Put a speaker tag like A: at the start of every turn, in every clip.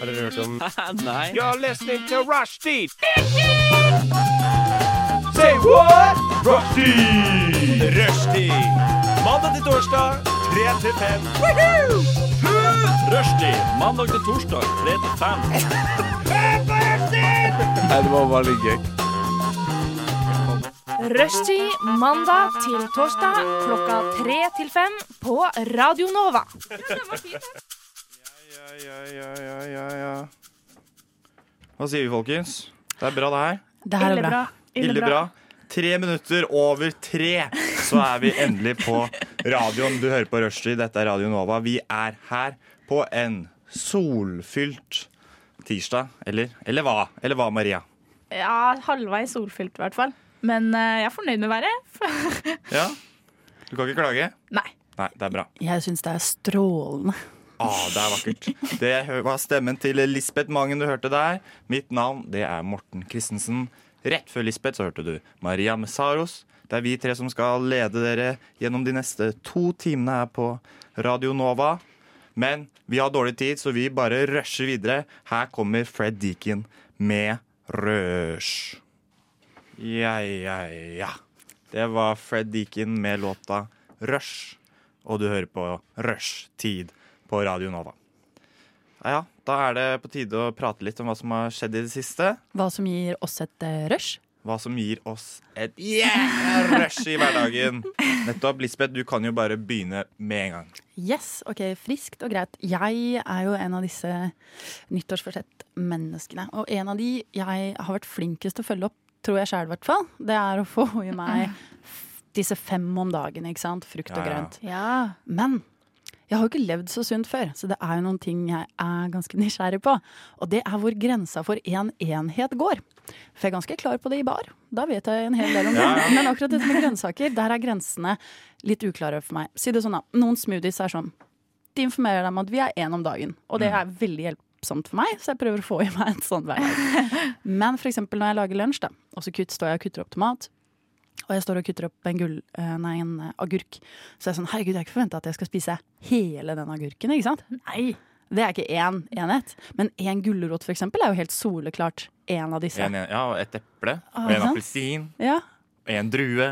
A: Har dere hørt om
B: Nei.
C: You're listening to Rushdie. Say what? Rushdie. Rushdie. Mandag til torsdag, 3 til 5. Rushdie. Mandag til torsdag, 3 til 5.
D: Nei, det var bare litt gøy.
E: Rushtid mandag til torsdag klokka tre til fem på Radio Nova.
D: Ja, ja, ja, ja, ja, ja. Hva sier vi, folkens? Det er bra, det her.
F: Det her er bra.
D: Ille bra. Tre minutter over tre, så er vi endelig på radioen. Du hører på Rushdie, dette er Radio Nova. Vi er her på en solfylt tirsdag. Eller, eller hva? Eller hva, Maria?
F: Ja, halvveis solfylt i hvert fall. Men eh, jeg er fornøyd med været.
D: Ja? Du kan ikke klage?
F: Nei.
D: Nei, det er bra.
G: Jeg syns det er strålende.
D: Ah, det er vakkert. Det hø- var stemmen til Lisbeth Mangen du hørte der. Mitt navn det er Morten Christensen. Rett før Lisbeth så hørte du Maria Messaros. Det er vi tre som skal lede dere gjennom de neste to timene her på Radio Nova. Men vi har dårlig tid, så vi bare rusher videre. Her kommer Fred Deacon med Rush. Ja, ja, ja. Det var Fred Deacon med låta Rush. Og du hører på Rush-tid på Radio Nova. Ja, ja, da er det på tide å prate litt om hva som har skjedd i det siste.
G: Hva som gir oss et eh, rush?
D: Hva som gir oss et yeah! rush i hverdagen. Nettopp. Lisbeth, du kan jo bare begynne med en gang.
G: Yes, ok, friskt og greit. Jeg er jo en av disse nyttårsforsett-menneskene. Og en av de jeg har vært flinkest til å følge opp, tror jeg sjæl i hvert fall, det er å få i meg f- disse fem om dagen, ikke sant. Frukt og
D: Ja, ja.
G: grønt.
F: Ja.
G: Men jeg har jo ikke levd så sunt før, så det er jo noen ting jeg er ganske nysgjerrig på. Og det er hvor grensa for én en enhet går. For jeg er ganske klar på det i bar. Da vet jeg en hel del om det.
D: Ja, ja.
G: Men akkurat dette med grønnsaker, der er grensene litt uklare for meg. Si det sånn, da. Noen smoothies er sånn. De informerer deg om at vi er én om dagen. Og
D: Mm.
G: det er veldig hjelpsomt for meg, så jeg prøver å få i meg en sånn hver dag. Men f.eks. når jeg lager lunsj, da, og så kutt, står jeg og kutter opp tomat. Og jeg står og kutter opp en, gull, eh, nei, en eh, agurk. Så jeg er sånn, herregud, jeg har ikke forventa at jeg skal spise hele den agurken. ikke sant? Nei. Det er ikke én enhet. Men én gulrot for eksempel, er jo helt soleklart én av disse.
D: En, ja, og et eple,
G: Ah,
D: og en
G: sant?
D: appelsin,
G: Ja.
D: og en drue,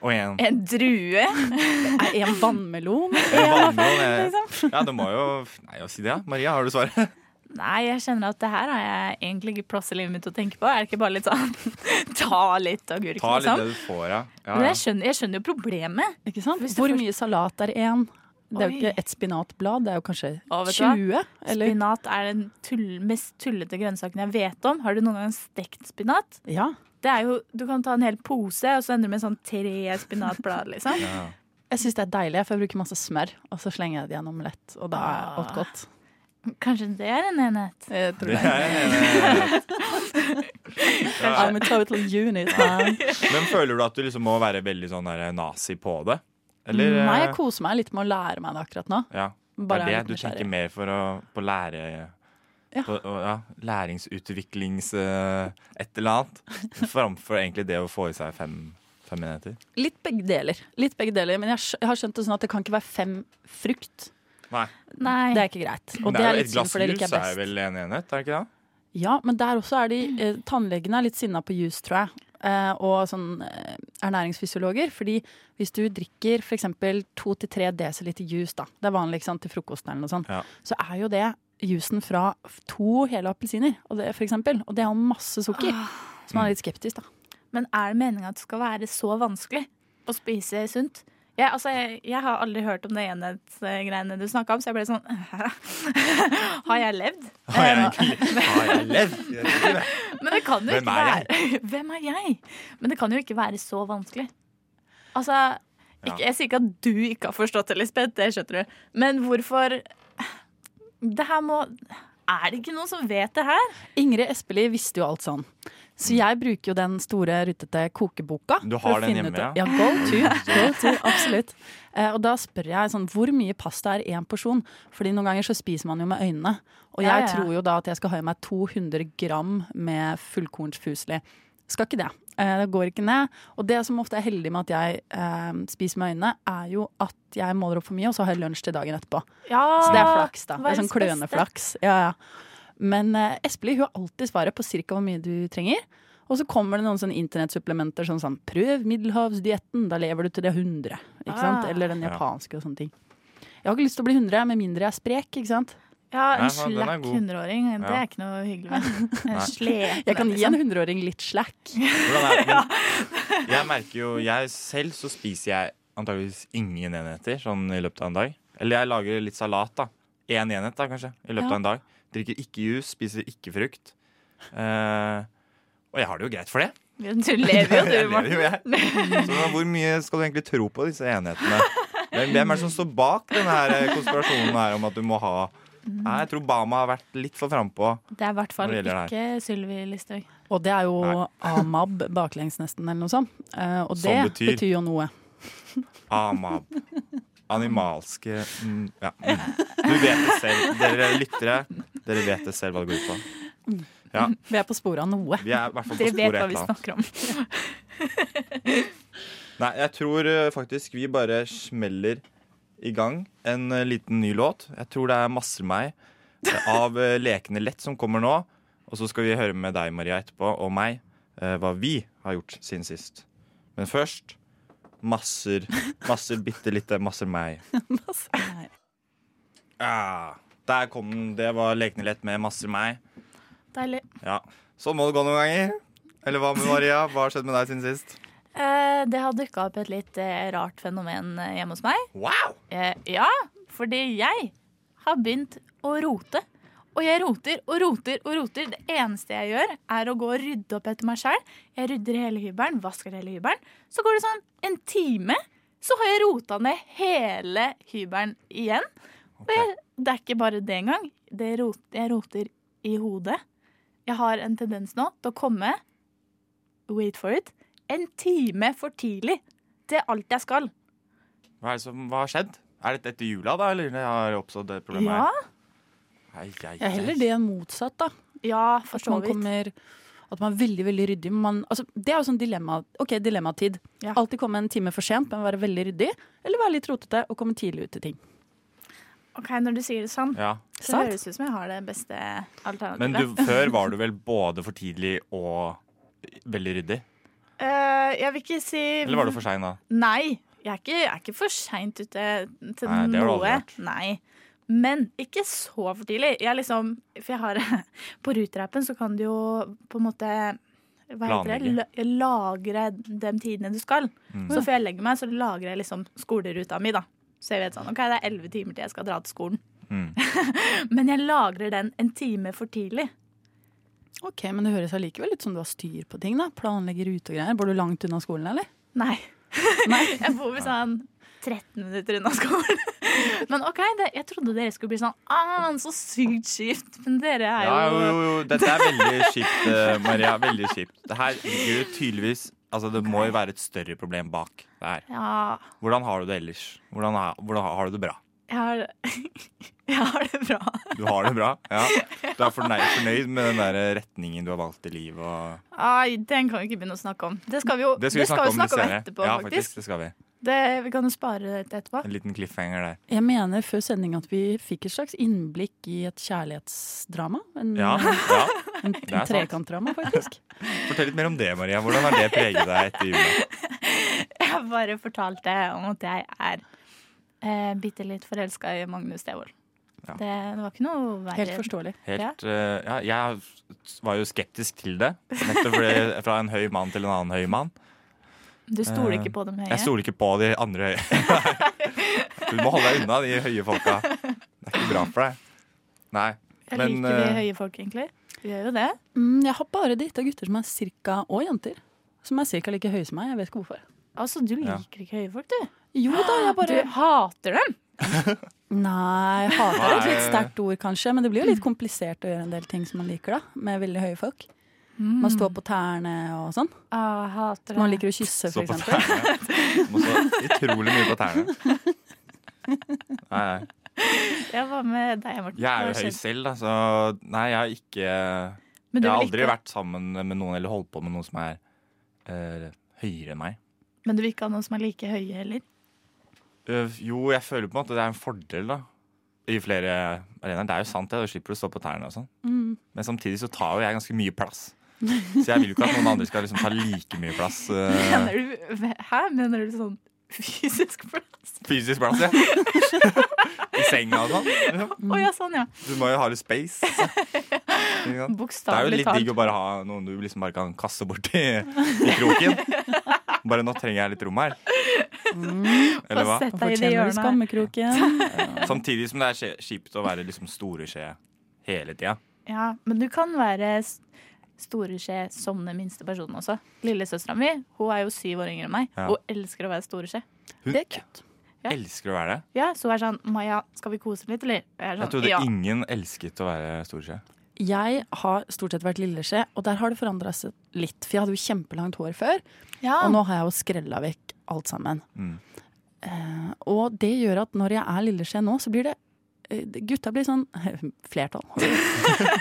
D: og en
F: En drue.
G: Er én vannmelon?
D: en Liksom. vannmelon. Jeg- Ja, det må jo Nei, å si det, ja. Maria, har du svaret?
F: Nei, jeg kjenner at det her har jeg egentlig ikke plass i livet mitt å tenke på. Er det ikke bare litt sånn ta litt agurk,
D: Ta litt
F: liksom?
D: det du får, ja. ja,
F: Men
D: ja.
F: jeg skjønner, jeg skjønner jo problemet.
G: Ikke sant?
F: Hvis du
G: Hvor
F: først-
G: mye salat er én? Det er jo
F: Oi.
G: ikke ett spinatblad, det er jo kanskje
F: Å, vet du hva?
G: 20? Eller?
F: Spinat er den tull, mest tullete grønnsaken jeg vet om. Har du noen gang stekt spinat?
G: Ja.
F: Det er jo, du kan ta en hel pose, og så ender du med sånn tre spinatblader, liksom.
G: Jeg syns det er deilig, for jeg bruker masse smør. Og så slenger jeg det i en omelett, og da er
F: Ah.
G: alt godt.
F: Kanskje det er en enhet?
G: Jeg tror
D: Det
G: det.
D: er en enhet. Ja,
G: I'm a total unit, man.
D: Men føler du at du liksom må være veldig sånn der nazi på det? Eller
G: Nei, jeg
D: eh,
G: koser meg litt med å lære meg det akkurat nå.
D: ja.
G: Bare
D: det
G: er
D: er det
G: litt
D: du tenker
G: nysgjerrig.
D: mer for å, på lære...
G: Ja.
D: På, å, ja, læringsutviklings eh, et eller annet, framfor egentlig det å få i seg fem, fem enheter.
G: Litt begge deler. Litt begge deler men jeg, skj- jeg har skjønt det sånn at det kan ikke være fem frukt.
D: Nei,
F: Nei.
G: Det er ikke greit. Og
D: men
G: det
D: jo
G: er litt synd, for det liker
D: jus
G: jeg
D: er
G: best.
D: vel en enhet, er det ikke det?
G: Ja, men der også er de eh, Tannlegene er litt sinna på juice, tror jeg. Eh, og sånn eh, ernæringsfysiologer. Fordi hvis du drikker f.eks. 2-3 dl juice, da, det er vanlig ikke sant, til frokosten eller noe sånt,
D: Ja.
G: så er jo det juicen fra f- to hele appelsiner, og det, for eksempel. Og det er jo masse sukker.
D: Ah.
G: Så man er litt skeptisk, da.
F: Men er det meninga at det skal være så vanskelig å spise sunt? Jeg, altså, jeg, jeg har aldri hørt om det enhetsgreiene du snakka om, så jeg ble sånn Har jeg levd?
D: Har jeg, egentlig- har jeg levd? Jeg vet ikke det.
F: Men det kan jo
D: Hvem
F: ikke
D: er
F: være Hvem er jeg? Men det kan jo ikke være så vanskelig. Altså, ikke, jeg sier ikke at du ikke har forstått det, Lisbeth, det skjønner du. Men hvorfor Det her må Er det ikke noen som vet det her?
G: Ingrid Espelid visste jo alt sånn. Så jeg bruker jo den store, rutete kokeboka.
D: Du
G: for
D: har
G: å
D: den
G: finne
D: hjemme,
G: ut-
D: ja?
G: Ja, go to. Go to absolutt. Eh, og da spør jeg sånn, hvor mye pasta er én porsjon? Fordi noen ganger så spiser man jo med øynene. Og jeg
F: Ja, ja, ja.
G: tror jo da at jeg skal ha i meg 200 gram med fullkornsfuselig. Skal ikke det. Eh, det går ikke ned. Og det som ofte er heldig med at jeg eh, spiser med øynene, er jo at jeg måler opp for mye, og så har jeg lunsj til dagen etterpå.
F: Ja,
G: Så det er flaks, da. Det er
F: verdens
G: sånn kløneflaks. Ja, ja. Men eh, Espelid hun har alltid svaret på ca. hvor mye du trenger. Og så kommer det noen sånne internettsupplementer sånn sånn 'prøv middelhavsdietten', da lever du til det 100. Ikke sant?
F: Ah.
G: Eller den
D: Ja.
G: japanske og sånne ting. Jeg har ikke lyst til å bli 100, med mindre jeg er sprek. ikke sant?
F: Ja,
D: Nei,
F: en
D: faen, den er
F: slakk
D: god.
F: hundreåring, det
D: Ja.
F: er ikke noe hyggelig med. En sånn.
D: Nei.
F: slep.
G: Jeg kan gi en hundreåring litt slack.
D: Hvordan er det? Men jeg merker jo jeg Selv så spiser jeg antageligvis ingen enheter sånn i løpet av en dag. Eller jeg lager litt salat, da. Én enhet, da, kanskje, i løpet
G: Ja.
D: av en dag. Drikker ikke juice, spiser ikke frukt. Eh, og jeg har det jo greit for det.
F: Du lever jo,
D: Jeg
F: du,
D: lever jo,
F: Morten.
D: jeg. Så da, hvor mye skal du egentlig tro på disse enhetene? Hvem hvem er det som står bak denne her konspirasjonen her om at du må ha Nei, Jeg tror Bama har vært litt for frampå.
F: Det er i hvert fall
D: Når det gjelder det
F: ikke Sylvi Listhaug.
G: Og det er jo
D: Nei.
G: amab baklengs, nesten, eller noe sånt. Eh, og det
D: Som
G: betyr.
D: betyr-
G: jo noe.
D: Amab. Animalske mm, ja. mm. Du vet det selv. Dere lyttere, dere vet det selv hva det går ut på. Ja,
G: Vi er på sporet av noe.
D: Vi er i hvert fall på
F: Dere vet
D: sporet et
F: hva
D: eller
F: vi
D: annet.
F: snakker om.
D: Nei, jeg tror eh, faktisk vi bare smeller i gang en eh, liten ny låt. Jeg tror det er Masser meg eh, av eh, Lekende lett som kommer nå. Og så skal vi høre med deg, Maria, etterpå, og meg, eh, hva vi har gjort siden sist. Men først masser, masser, bitte lite, masser meg.
G: Nei.
D: Ja, der kom den. Det var lekende lett med masse meg.
F: Deilig.
D: Ja. Sånn må det gå noen ganger. Eller hva med Maria? Hva har skjedd med deg siden sist?
F: Eh, Det har dukka opp et litt eh, rart fenomen eh, hjemme hos meg.
D: Wow!
F: Eh, Ja, fordi jeg har begynt å rote. Og jeg roter og roter og roter. Det eneste jeg gjør, er å gå og rydde opp etter meg sjøl. Jeg rydder hele hybelen, vasker hele hybelen. Så går det sånn en time, så har jeg rota ned hele hybelen igjen. Og jeg, det er ikke bare det engang. Det rot, jeg roter i hodet. Jeg har en tendens nå til å komme Wait for it. En time for tidlig. Det er alt jeg skal.
D: Hva, er det som, hva har skjedd? Er dette etter jula, da? Eller har det oppstått det problemet?
F: Ja,
D: her? Ai, ai,
G: Jeg er heller det enn motsatt, da.
F: ja for
G: At
F: så
G: man
F: vidt.
G: kommer at man er veldig veldig ryddig. men Man, altså, det er jo sånn dilemma, ok, dilemmatid.
F: Ja.
G: Alltid komme en time for sent, men være veldig ryddig. Eller være litt rotete og komme tidlig ut til ting.
F: Ok, Når du sier det sånn,
D: Ja.
F: så
G: Sant?
F: høres det ut som jeg har det beste alternativet.
D: Men du, før var du vel både for tidlig og veldig ryddig?
F: Eh, jeg vil ikke si
D: Eller var du for sein da?
F: Nei. Jeg er ikke, jeg er ikke for seint ute til
D: Nei, det har du aldri
F: noe.
D: vært.
F: Nei. Men ikke så for tidlig. Jeg liksom, for jeg har, på Ruterappen så kan du jo på en måte hva heter det?
D: Planlegge. Mm.
F: La- Lagre de tidene du skal. Så før jeg legger meg, så lagrer jeg liksom skoleruta mi. da. Så jeg vet sånn, ok, det er elleve timer til jeg skal dra til skolen.
D: Mm.
F: Men jeg lagrer den en time for tidlig.
G: Ok, Men det høres allikevel ut som du har styr på ting. da. Planlegger rute og greier. Bor du langt unna skolen, eller?
F: Nei. jeg bor vel sånn 13 minutter unna skolen. Men OK, det, jeg trodde dere skulle bli sånn ah, så sykt skift. Men dere er
D: Ja, jo,
F: jo
D: jo, jo. Dette er veldig kjipt, eh, Maria. Veldig kjipt. Det her ligger jo tydeligvis Altså, det må jo være et større problem bak det her.
F: Ja,
D: Hvordan har du det ellers? Hvordan, er, hvordan har du det bra?
F: jeg har, jeg har det bra.
D: Du har det bra? Ja. Du er fornøyd, fornøyd med den der retningen du har valgt i livet? Og...
F: Ai, den kan vi ikke begynne å snakke om. Det skal vi jo
D: Det skal vi snakke om, litt senere.
F: etterpå,
D: ja,
F: faktisk.
D: faktisk. Det skal vi.
F: Det, vi kan jo spare det til etterpå.
D: En liten cliffhanger der.
G: Jeg mener før sending at vi fikk et slags innblikk i et kjærlighetsdrama. En,
D: Ja, ja.
G: en, en
D: sant.
G: trekantdrama, faktisk.
D: Fortell litt mer om det, Maria. Hvordan har det preget deg etter jula?
F: Jeg bare fortalte om at jeg er eh, bitte litt forelska i Magnus Devold.
D: Ja.
F: Det, det var ikke noe verre.
G: Helt forståelig.
D: Helt, eh, ja, jeg var jo skeptisk til det. Nettopp fordi fra en høy mann til en annen høy mann.
F: Du stoler
D: Eh,
F: ikke på dem høye?
D: Jeg stoler ikke på de andre høye. Du må holde deg unna de høye folka. Det er ikke bra for deg. Nei.
F: Jeg
D: Men,
F: liker vi
D: eh,
F: høye folk, egentlig. Vi gjør jo det.
G: Mm, jeg har bare data gutter som er cirka, og jenter, som er cirka like høye som meg. Jeg vet ikke hvorfor.
F: Altså, Du
D: Ja.
F: liker ikke høye folk, du.
G: Jo da, jeg bare
F: Du hater dem!
G: Nei, hater er et litt
D: Nei.
G: sterkt ord, kanskje. Men det blir jo litt komplisert å gjøre en del ting som man liker, da. Med veldig høye folk.
F: Mm.
G: Man står på tærne og sånn.
F: Ah, jeg hater
G: Man
F: dem.
G: liker å kysse,
D: Så
G: for
D: på
G: eksempel.
D: tærne. Må så utrolig mye på tærne. Nei, nei.
F: Jeg var med deg, Morten.
D: Jeg er
F: Det var
D: jo høy
F: skjedd.
D: selv, da, så nei, jeg har ikke Jeg
F: Men du
D: har
F: vil
D: aldri
F: ikke,
D: vært sammen med noen eller holdt på med noen som er eh, høyere enn meg.
F: Men du vil ikke ha noen som er like høye heller?
D: Øh, jo, jeg føler på en måte det er en fordel, da. I flere arenaer. Det er jo sant, det. Da slipper du å stå på tærne og sånn.
G: Mm.
D: Men samtidig så tar jo jeg ganske mye plass. Så jeg vil jo ikke at noen andre skal liksom ta like mye plass. eh,
F: Mener du, hæ? Mener du sånn fysisk plass?
D: fysisk plass, ja. I senga og sånn. liksom.
F: Å ja, sånn, ja.
D: Du må jo ha litt space. Ikke sant? Det er jo
F: Bokstavelig
D: litt digg
F: talt.
D: å bare ha noen du liksom bare kan kaste borti i kroken. Bare 'nå trenger jeg litt rom her'.
G: Mm.
D: Eller hva?
F: Bare sett
G: Han
F: deg i det
G: fortjener du
F: hjørnet her.
G: skammekroken.
D: Samtidig som det er skje- kjipt å være liksom store skje hele tida.
F: Ja, men du kan være s- store skje som den minste personen også. Lillesøstera mi hun er jo syv år yngre enn meg.
D: Ja.
F: Hun elsker å være store skje.
D: Hun
G: Det er kult.
F: Ja.
D: elsker å være det.
F: Ja, Så hun er sånn 'Maja, skal vi kose litt, eller?' Og Jeg er
D: Jeg
F: sånn,
D: trodde
F: ja.
D: ingen elsket å være stor skje.
G: Jeg har stort sett vært lilleskje, og der har det forandra seg litt. For jeg hadde jo kjempelangt hår før,
F: ja.
G: og nå har jeg jo skrella vekk alt sammen.
D: Ah. Mm.
G: Eh, og det gjør at når jeg er lilleskje nå, så blir det eh, Gutta blir sånn Flertall.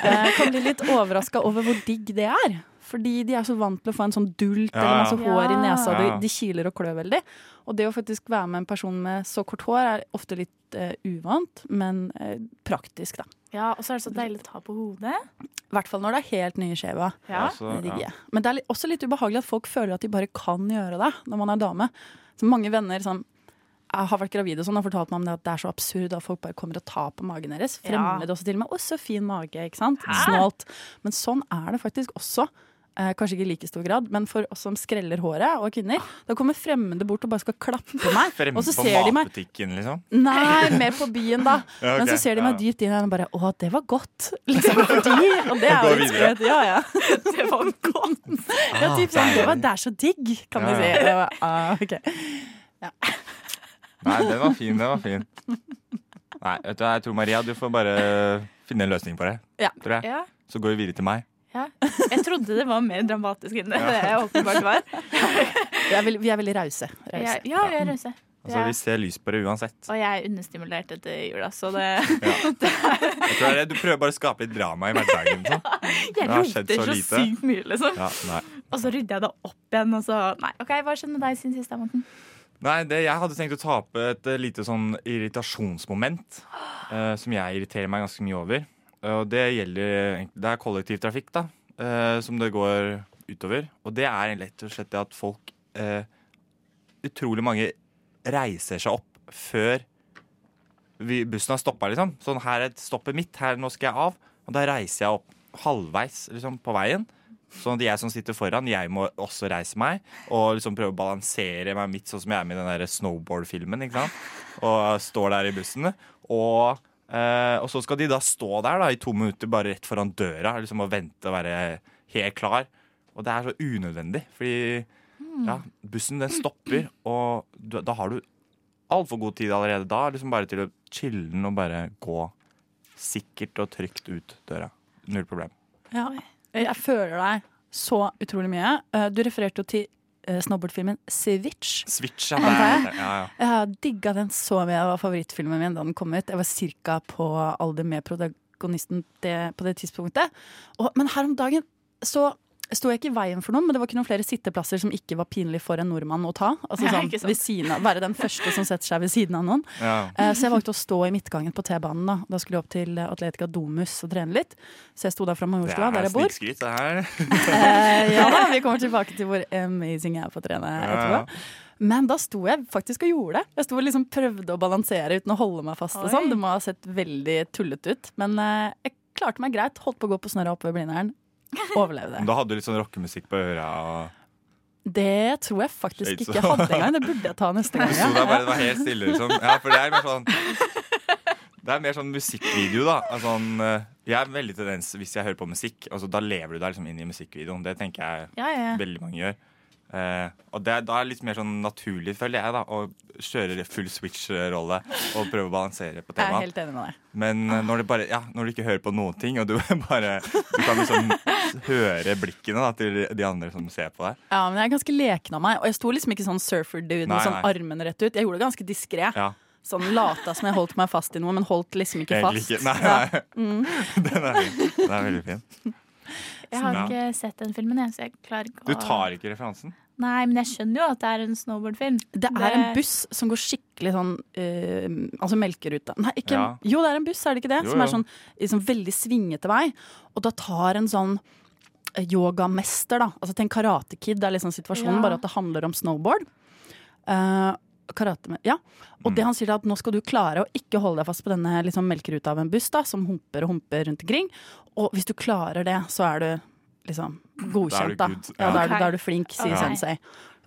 G: Eh, kan bli litt overraska over hvor digg det er. Fordi de er så vant til å få en sånn dult
D: Ja,
G: eller
D: ja.
G: masse hår i
F: Ja.
G: nesa, og de,
D: Ja.
G: de kiler og klør veldig. Og det å faktisk være med en person med så kort hår er ofte litt eh, uvant, men eh, praktisk, da.
F: ja, Og så er det så deilig å ta på hodet.
G: I hvert fall når det er helt nye skjeva.
F: Ja.
D: Altså,
G: Det digger
D: ja.
G: jeg. Men det er li- også litt ubehagelig at folk føler at de bare kan gjøre det når man er dame. Så mange venner som er- har vært gravide og sånn, har fortalt meg om det at det er så absurd at folk bare kommer og tar på magen deres.
F: Ja.
G: Fremmede også til og med. Å, så fin mage, ikke sant? Snålt. Men sånn er det faktisk også. Eh, kanskje ikke i like stor grad, men for oss som skreller håret, og kvinner. Da kommer fremmede bort og bare skal klappe meg.
D: Fremme
G: Og så
D: på
G: ser de meg
D: matbutikken, liksom.
G: Nei, mer på byen, da.
D: Ja, ok.
G: Men så ser de
D: Ja.
G: meg dypt inn i øynene og bare Å, det var godt. Liksom fordi Og det er
D: Gå
G: jo litt
D: videre.
G: sprøtt. Ja, ja. Det var godt. Ja, typ sånn. Det var det er så digg, kan
D: Ja,
G: vi si.
D: ja.
G: Det var, ah, ok.
D: Nei, den var fin, den var fin. Nei, vet du, hva, jeg tror Maria, du får bare finne en løsning på det.
G: Ja.
D: Tror jeg.
F: Ja,
D: Så går vi videre til meg.
F: ja. Jeg trodde det var mer dramatisk enn det det åpenbart var.
G: Vi er veldig, vi er veldig rause.
F: Ja,
G: rause.
F: ja, jeg er rause.
D: Altså,
F: Ja.
D: Vi ser lys på det uansett.
F: Og jeg er understimulert etter jula, så det
D: Jeg tror det er det. Du prøver bare å skape litt drama i hverdagen. Sånn.
F: Jeg
D: har skjedd
F: roter
D: så
F: så,
D: lite.
F: sykt mye, liksom.
D: Ja, nei.
F: Og så rydder jeg det opp igjen, og så Nei, OK, hva skjedde med deg siden sist, da, Morten?
D: Nei, det, jeg hadde tenkt å ta opp et eh, lite sånn irritasjonsmoment eh, som jeg irriterer meg ganske mye over. Eh, Og det gjelder egentlig- Det er kollektivtrafikk, da, eh, som det går utover. Og det er rett og slett det at folk eh, Utrolig mange reiser seg opp før vi, bussen har stoppa, liksom. Sånn, her er stoppet mitt, her, nå skal jeg av. Og da reiser jeg opp halvveis liksom, på veien. Sånn at jeg som sitter foran, jeg må også reise meg. Og liksom prøve å balansere meg midt, sånn som jeg er med i den der snowboard-filmen. ikke sant? Og står der i bussen. Og, eh, og så skal de da stå der da, i to minutter bare rett foran døra liksom, og vente og være helt klar. Og det er så unødvendig, fordi ja, bussen den stopper, og du, da har du altfor god tid allerede da. Liksom bare til å chille den og bare gå sikkert og trygt ut døra. Null problem.
G: Ja. Jeg føler deg så utrolig mye. Eh, Du refererte jo til eh, snowboardfilmen Switch.
D: Switch, ja.
G: Antar
D: det er- ja, ja.
G: Jeg har digga den så mye. Det var favorittfilmen min da den kom ut. Jeg var ca. på alder med protagonisten det, på det tidspunktet. Og, men her om dagen så sto jeg ikke i veien for noen, men det var ikke noen flere sitteplasser som ikke var pinlig for en nordmann å ta. Altså
F: Ja,
G: sånn,
F: ikke sant.
G: ved siden av, Være den første som setter seg ved siden av noen.
D: Ja.
G: Eh, Så jeg valgte å stå i midtgangen på T-banen. Da Da skulle jeg opp til eh, Atletica Domus og trene litt. Så jeg sto der fra
D: Det
G: Majorstua,
D: er
G: der jeg bor.
D: snikskryt, det her.
G: Eh, ja da, vi kommer tilbake til hvor amazing jeg er på å trene
D: Ja, ja.
G: etterpå. Men da sto jeg faktisk og gjorde det. Jeg sto og liksom prøvde å balansere uten å holde meg fast. og
F: Oi.
G: sånn. Det må ha sett veldig tullete ut. Men eh, jeg klarte meg greit. Holdt på å gå på snørra oppover Blindern. Overlevde.
D: Men Da hadde du litt sånn rockemusikk på øra. Og
G: Det tror jeg faktisk
D: Shades.
G: ikke jeg hadde engang. Det burde jeg ta neste gang.
D: du sto
G: Ja.
D: der bare, det var helt stille, liksom. Ja, for det er mer sånn det er mer sånn musikkvideo, da. Altså, sånn, eh, jeg er veldig tendens hvis jeg hører på musikk. Altså, da lever du deg liksom inn i musikkvideoen. Det tenker jeg
F: Ja, ja.
D: veldig mange gjør. Eh, og det, er- da er det litt mer sånn naturlig, føler jeg, da, å kjøre full switch-rolle og prøve å balansere på
G: Jeg er
D: temaet.
G: helt enig med deg.
D: Men eh, når, det bare, ja, når du ikke hører på noen ting, og du bare du kan liksom høre blikkene da, til de andre som ser på deg
G: Ja, men Jeg er ganske leken av meg. Og jeg sto liksom ikke sånn surfer-dude med
D: Nei,
G: sånn
D: nei.
G: armene rett ut. Jeg gjorde det ganske diskré.
D: Ja,
G: Sånn lata som jeg holdt meg fast i noe, men holdt liksom ikke
D: egentlig
G: fast.
D: ikke. Nei, nei. Den, er, fin. den er veldig fin.
F: Jeg har
D: Ja.
F: ikke sett den filmen, jeg, så jeg klarer ikke
D: Du tar ikke referansen?
F: Nei, men jeg skjønner jo at det er en snowboardfilm.
G: Det er en buss som går skikkelig sånn eh, Altså melkerute. Nei, ikke
D: Ja.
G: Jo, det er en buss, er det ikke det?
D: Jo,
G: som er
D: jo.
G: sånn i sånn veldig svingete vei. Og da tar en sånn eh, yogamester, da. Altså til en karatekid, det er liksom situasjonen,
F: Ja.
G: bare at det handler om snowboard. Eh, karate med, ja. Og
D: Mm.
G: det han sier er at nå skal du klare å ikke holde deg fast på denne liksom, melkeruta av en buss da, som humper og humper rundt omkring. Og hvis du klarer det, så er du liksom godkjent, da.
D: good.
G: Ja, da, er du,
F: Ok.
G: da er du flink, sier
F: Ok.
G: sensei.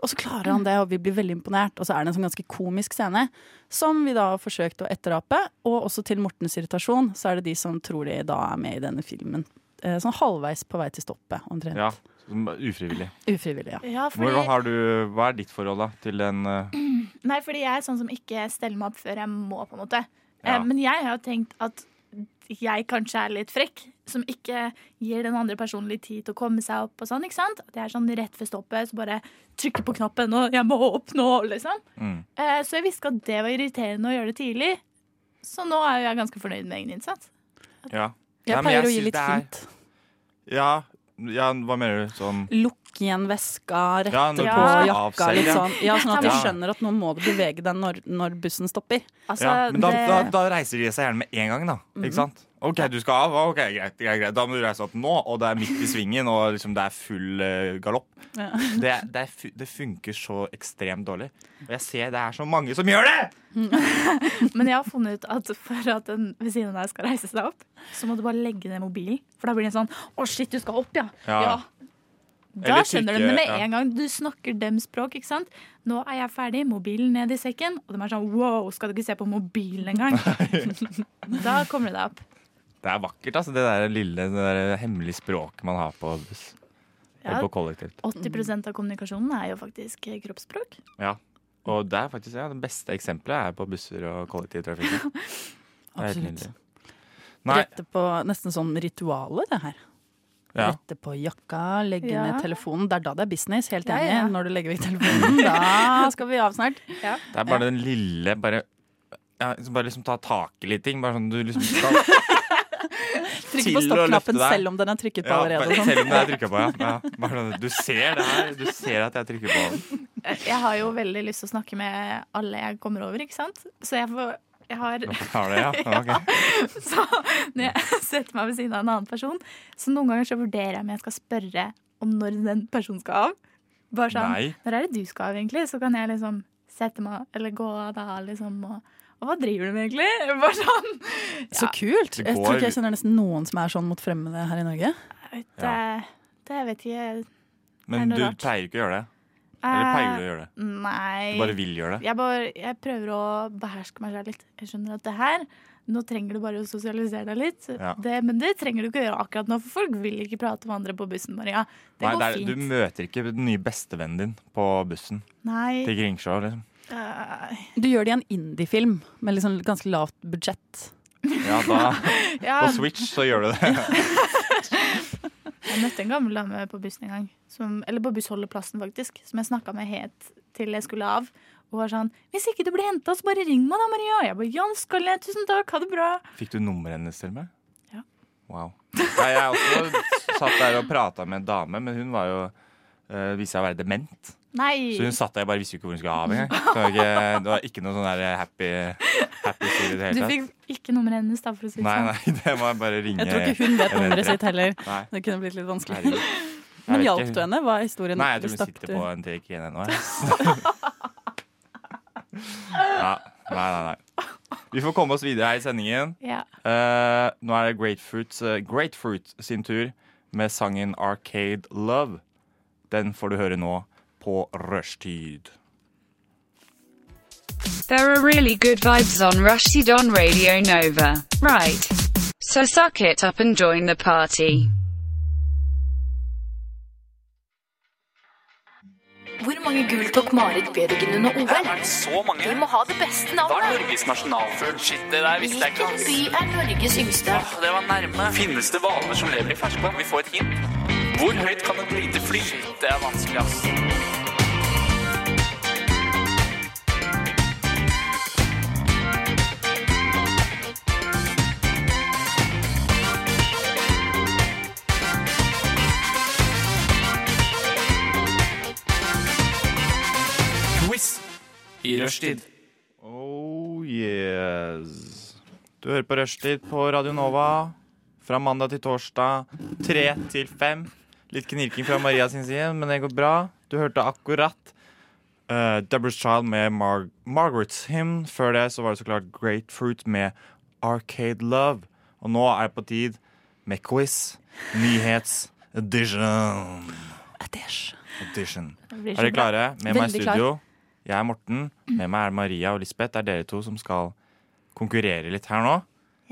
G: Og så klarer han det, og vi blir veldig imponert. Og så er det en sånn ganske komisk scene som vi da har forsøkt å etterape. Og også til Mortens irritasjon, så er det de som tror de da er med i denne filmen. Eh, Sånn halvveis på vei til stoppet, omtrent.
D: Ja, som er ufrivillig.
G: Ufrivillig, ja.
F: Ja,
D: Hvor,
F: fordi,
D: hva, har du, hva er ditt forhold da, til den eh,
F: nei, fordi jeg er sånn som ikke steller meg opp før jeg må, på en måte.
D: Ja.
F: Eh, Men jeg har jo tenkt at jeg kanskje er litt frekk, som ikke gir den andre personen litt tid til å komme seg opp og sånn, ikke sant? At jeg er sånn rett ved stoppet, så bare trykker på knappen og 'jeg må opp nå', liksom.
D: Mm.
F: Eh, Så jeg visste at det var irriterende å gjøre det tidlig, så nå er jo jeg ganske fornøyd med egen innsats.
D: Ja.
G: Jeg
D: Nei, men
G: pleier å
D: synes
G: gi litt
D: det er-
G: hint.
D: Ja, ja, hva mener du? Sånn
G: Lukk igjen veska, rette
D: Ja, når
G: på
D: bussen
G: jakka,
D: avseiler,
G: litt
D: ja.
G: sånn. Ja, sånn at du
D: Ja.
G: skjønner at nå må du bevege deg når, når bussen stopper.
F: Altså,
D: ja, men da,
F: det,
D: da, da reiser de seg gjerne med en gang, da. Ikke sant? OK, du skal av. Ok, greit, greit, greit. Da må du reise opp nå, og det er midt i svingen, og liksom det er full eh, galopp.
G: Ja.
D: Det, det, fu- det funker så ekstremt dårlig. Og jeg ser det er så mange som gjør det!
F: Men jeg har funnet ut at for at den ved siden av deg skal reise seg opp, så må du bare legge ned mobilen. For da blir det sånn 'Å, shit, du skal opp, ja'. ja.
D: Ja.
F: Da
D: Eller
F: skjønner de
D: trykke,
F: det med
D: ja.
F: en gang. Du snakker dem språk, ikke sant. 'Nå er jeg ferdig, mobilen ned i sekken.' Og de er sånn 'wow, skal du ikke se på mobilen engang?' da kommer du deg opp.
D: Det er vakkert, altså. Det der lille det der hemmelige språket man har på buss.
F: Ja.
D: Eller på kollektivt.
F: 80 av kommunikasjonen er jo faktisk eh, kroppsspråk.
D: Ja. Og det er faktisk ja, det beste eksempelet er på busser og kollektivtrafikk.
G: Absolutt.
D: Nei,
G: Rette på nesten sånn ritualet, det her.
D: ja.
G: Rette på jakka, legge
F: Ja.
G: ned telefonen. Det er da det er business, helt
F: Ja,
G: enig.
F: ja.
G: Når du legger vekk telefonen, da skal vi av snart.
D: Det er bare den lille bare, ja, liksom bare liksom ta tak i litt ting. Bare sånn du liksom skal
G: Trykke
D: Til
G: på
D: å løfte
G: stoppknappen
D: deg.
G: selv om den er trykket på
D: ja, bare,
G: allerede. og Sånn.
D: Selv om det er trykka på, ja. ja bare, sånn, du ser det her. Du ser at jeg trykker på. den.
F: Jeg har jo veldig lyst til å snakke med alle jeg kommer over, ikke sant. Så jeg, får, jeg har
D: Har det, ja? Ok.
F: Så når jeg setter meg ved siden av en annen person, så noen ganger så vurderer jeg om jeg skal spørre om når den personen skal av. Bare sånn
D: Nei.
F: Når er det du skal av, egentlig? Så kan jeg liksom sette meg Eller gå av da, liksom. Og, og hva driver du med, egentlig? Bare sånn.
G: Så kult!
D: Det
G: Jeg
D: går-
G: tror ikke jeg kjenner nesten noen som er sånn mot fremmede her i Norge.
F: Jeg vet, eh, Det jeg vet ikke Er
D: Men
F: det
D: du
F: rart?
D: pleier ikke å gjøre det? Eller pleier du å gjøre det?
F: Eh, Nei.
D: Du bare vil gjøre det?
F: jeg, bare, jeg prøver å beherske meg selv litt. Jeg skjønner at det her Nå trenger du bare å sosialisere deg litt.
D: Ja.
F: Det, men det trenger du ikke gjøre akkurat nå, for folk vil ikke prate med andre på bussen, Maria. Det
D: Nei,
F: går
D: det er,
F: fint.
D: du møter ikke den nye bestevennen din på bussen
F: Nei.
D: til Kringsjå. Liksom.
F: eh,
G: Du gjør det i en indie-film med liksom ganske lavt budsjett.
D: Ja, da,
F: ja,
D: på Switch så gjør du det.
F: jeg møtte en gammel dame på bussen en gang. Som, eller på bussholdeplassen, faktisk. Som jeg snakka med helt til jeg skulle av. Og var sånn 'Hvis ikke du blir henta, så bare ring meg, da, Maria.' Jeg bare 'Ja, det skal jeg. Tusen takk. Ha det bra.'
D: Fikk du nummeret hennes til meg?
F: Ja.
D: Wow. Nei, jeg også satt der og prata med en dame, men hun var jo eh, viste seg å være dement.
F: Nei.
D: Så hun satt der, jeg bare visste jo ikke hvor hun skulle av engang. Det var ikke- Det var ikke noe sånn der happy, happy story i det
F: Du
D: hele tatt.
F: fikk ikke nummeret hennes, da, for å si det
D: Nei,
F: sånn.
D: nei, det må jeg bare ringe.
G: liksom- Jeg tror ikke hun vet
D: Jeg vet
G: nummeret
D: det.
G: sitt heller.
D: Nei,
G: Det kunne blitt litt vanskelig.
D: herregud. Jeg
G: Men
D: vet
G: hjalp
D: ikke.
G: du henne? Var historien
D: Nei, jeg tror
G: du
D: hun
G: stakk
D: sitter
G: til-
D: på en take igjen ennå. jeg. Ja, nei, nei, nei. Vi får komme oss videre her i sendingen.
F: Ja.
D: Eh, nå er det Grapefruit, eh, Grapefruit sin tur med sangen 'Arcade Love'. Den får du høre nå på rushtid.
A: There are really good vibes on Rushdie on Radio Nova. Right. So suck it up and join the party.
B: Hvor mange gull tok Marit Bjørgen under OL?
H: Er det så mange?
B: Vi må ha det beste
H: Hva er
B: navnet.
H: Norges nasjonalfugl? Shit, det der visste jeg ikke.
B: Hvilken by
H: ass.
B: er Norges yngste?
H: Åh, Det var nærme. Finnes det hvaler som lever i ferskvann? Vi får et hint. Hvor høyt kan et lite fly? Shit, det er vanskelig, ass. Rushtid.
D: Oh yes. Du hører på Rushtid på Radio Nova fra mandag til torsdag, tre til fem. Litt knirking fra Maria sin side, men det går bra. Du hørte akkurat eh, Deborah's Child med Mar Margaret's Hymn. Før det så var det så klart Grapefruit med Arcade Love. Og nå er det på tid med quiz. Nyhets-edition. Edition.
F: blir
D: Er dere klare? Med meg i
G: Veldig klar.
D: studio. Jeg er Morten. Med meg er Maria og Lisbeth. Det er dere to som skal konkurrere litt her nå.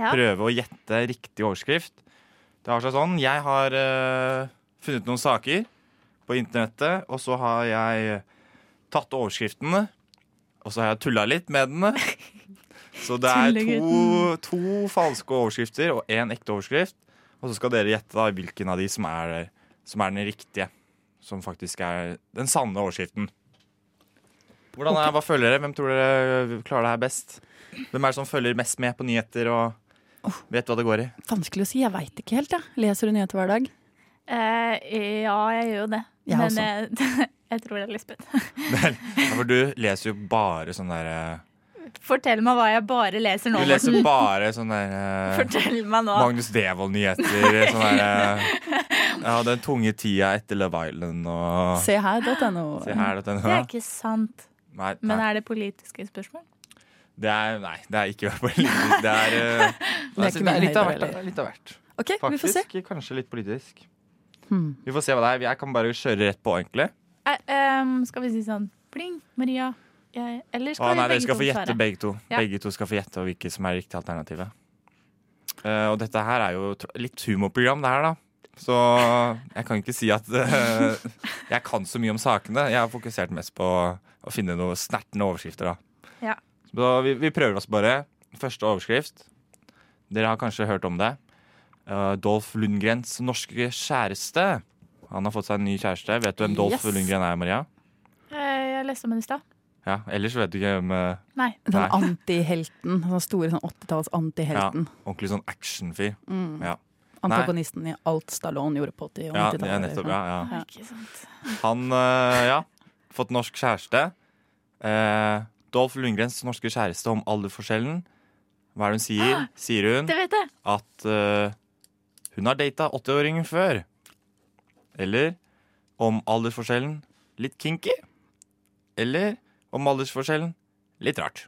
F: Ja.
D: Prøve å gjette riktig overskrift. Det har seg sånn. Jeg har eh, funnet noen saker på internettet, og så har jeg eh, tatt overskriftene. Og så har jeg tulla litt med den. Så det er to, to falske overskrifter og én ekte overskrift. Og så skal dere gjette da hvilken av de som er, som er den riktige. Som faktisk er den sanne overskriften. Hvordan er, Hva føler dere? Hvem tror dere klarer det her best? Hvem er det som følger mest med på nyheter og vet hva det går i?
G: Vanskelig å si. Jeg veit ikke helt, jeg. Leser du nyheter hver dag?
F: Eh, ja, jeg gjør jo det.
G: Jeg
F: Men
G: også.
F: eh, jeg tror det er Lisbeth.
D: Ja, For du leser jo bare sånn derre
F: Fortell meg hva jeg bare leser nå.
D: Du leser
F: Morten.
D: bare sånn derre
F: Fortell meg nå.
D: Magnus Devold-nyheter. Sånn derre Ja, den tunge tida etter Love Island og
G: Se her.no.
D: Se her, dette
F: Det
D: nå.
F: er ikke sant.
D: Nei,
F: Men
D: nei.
F: er det politiske spørsmål?
D: Det er, nei, det er ikke politisk. Det er, eh, altså,
G: ikke
D: det
G: min
D: er litt av hvert.
G: høyde
D: da.
G: heller.
D: Litt av hvert.
G: OK, vi får se. Hmm.
D: Faktisk kanskje litt politisk. Vi får se hva det er. Jeg kan bare kjøre rett på, egentlig.
F: Eh, ehm, skal vi si sånn pling, Maria? Jeg, eller skal
D: Å, nei,
F: vi
D: dere
F: begge
D: skal
F: to
D: få
F: svare?
D: gjette begge to.
F: Ja.
D: Begge to skal få gjette hvilke som er riktig alternativ. Eh, og dette her er jo tr- litt humorprogram, det her, da. Så jeg kan ikke si at eh, jeg kan så mye om sakene. Jeg har fokusert mest på å finne noen snertne overskrifter, da.
F: Ja.
D: Så vi, vi prøver oss bare. Første overskrift. Dere har kanskje hørt om det. Eh, Dolph Lundgrens norske kjæreste. Han har fått seg en ny kjæreste. Vet du hvem Dolph
G: Yes.
D: Lundgren er, Maria?
F: Eh, jeg leste om henne i stad.
D: Ja, Ellers vet du ikke hvem eh,
F: Nei.
G: Den
D: Nei.
G: Sånn antihelten. Den store sånn 80-talls antihelten.
D: ordentlig sånn actionfyr. Ja.
G: Antagonisten i alt Stallone gjorde på 80- og liksom.
D: Ja, ja,
G: 90-tallet.
D: nettopp. Ja, ja.
F: Ikke sant.
D: Han, eh, ja. Fått norsk kjæreste. Eh, Dolph Lundgrens norske kjæreste om alderforskjellen. Hva er det hun sier? Sier hun
F: Det vet jeg!
D: at eh, hun har data 80-åringen før. Eller om aldersforskjellen litt kinky. Eller om aldersforskjellen litt rart.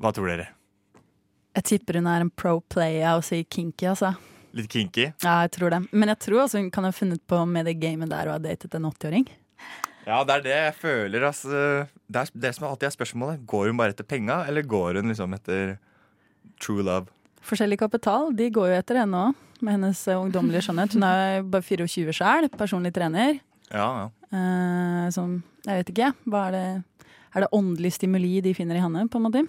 D: Hva tror dere?
G: Jeg tipper hun er en pro playa og sier kinky, altså.
D: Litt kinky?
G: Ja, jeg tror det. Men jeg tror også hun kan ha funnet på med det gamet der og ha datet en 80-åring.
D: Ja, det er det jeg føler. Altså. Det er det som alltid er spørsmålet. Går hun bare etter penga, eller går hun liksom etter true love?
G: Forskjellig kapital, de går jo etter henne òg, med hennes eh, ungdommelige skjønnhet. Hun er jo bare 24 sjæl, personlig trener.
D: Ja, ja.
G: Eh, som Jeg vet ikke. Hva er det Er det åndelig stimuli de finner i henne, på en måte?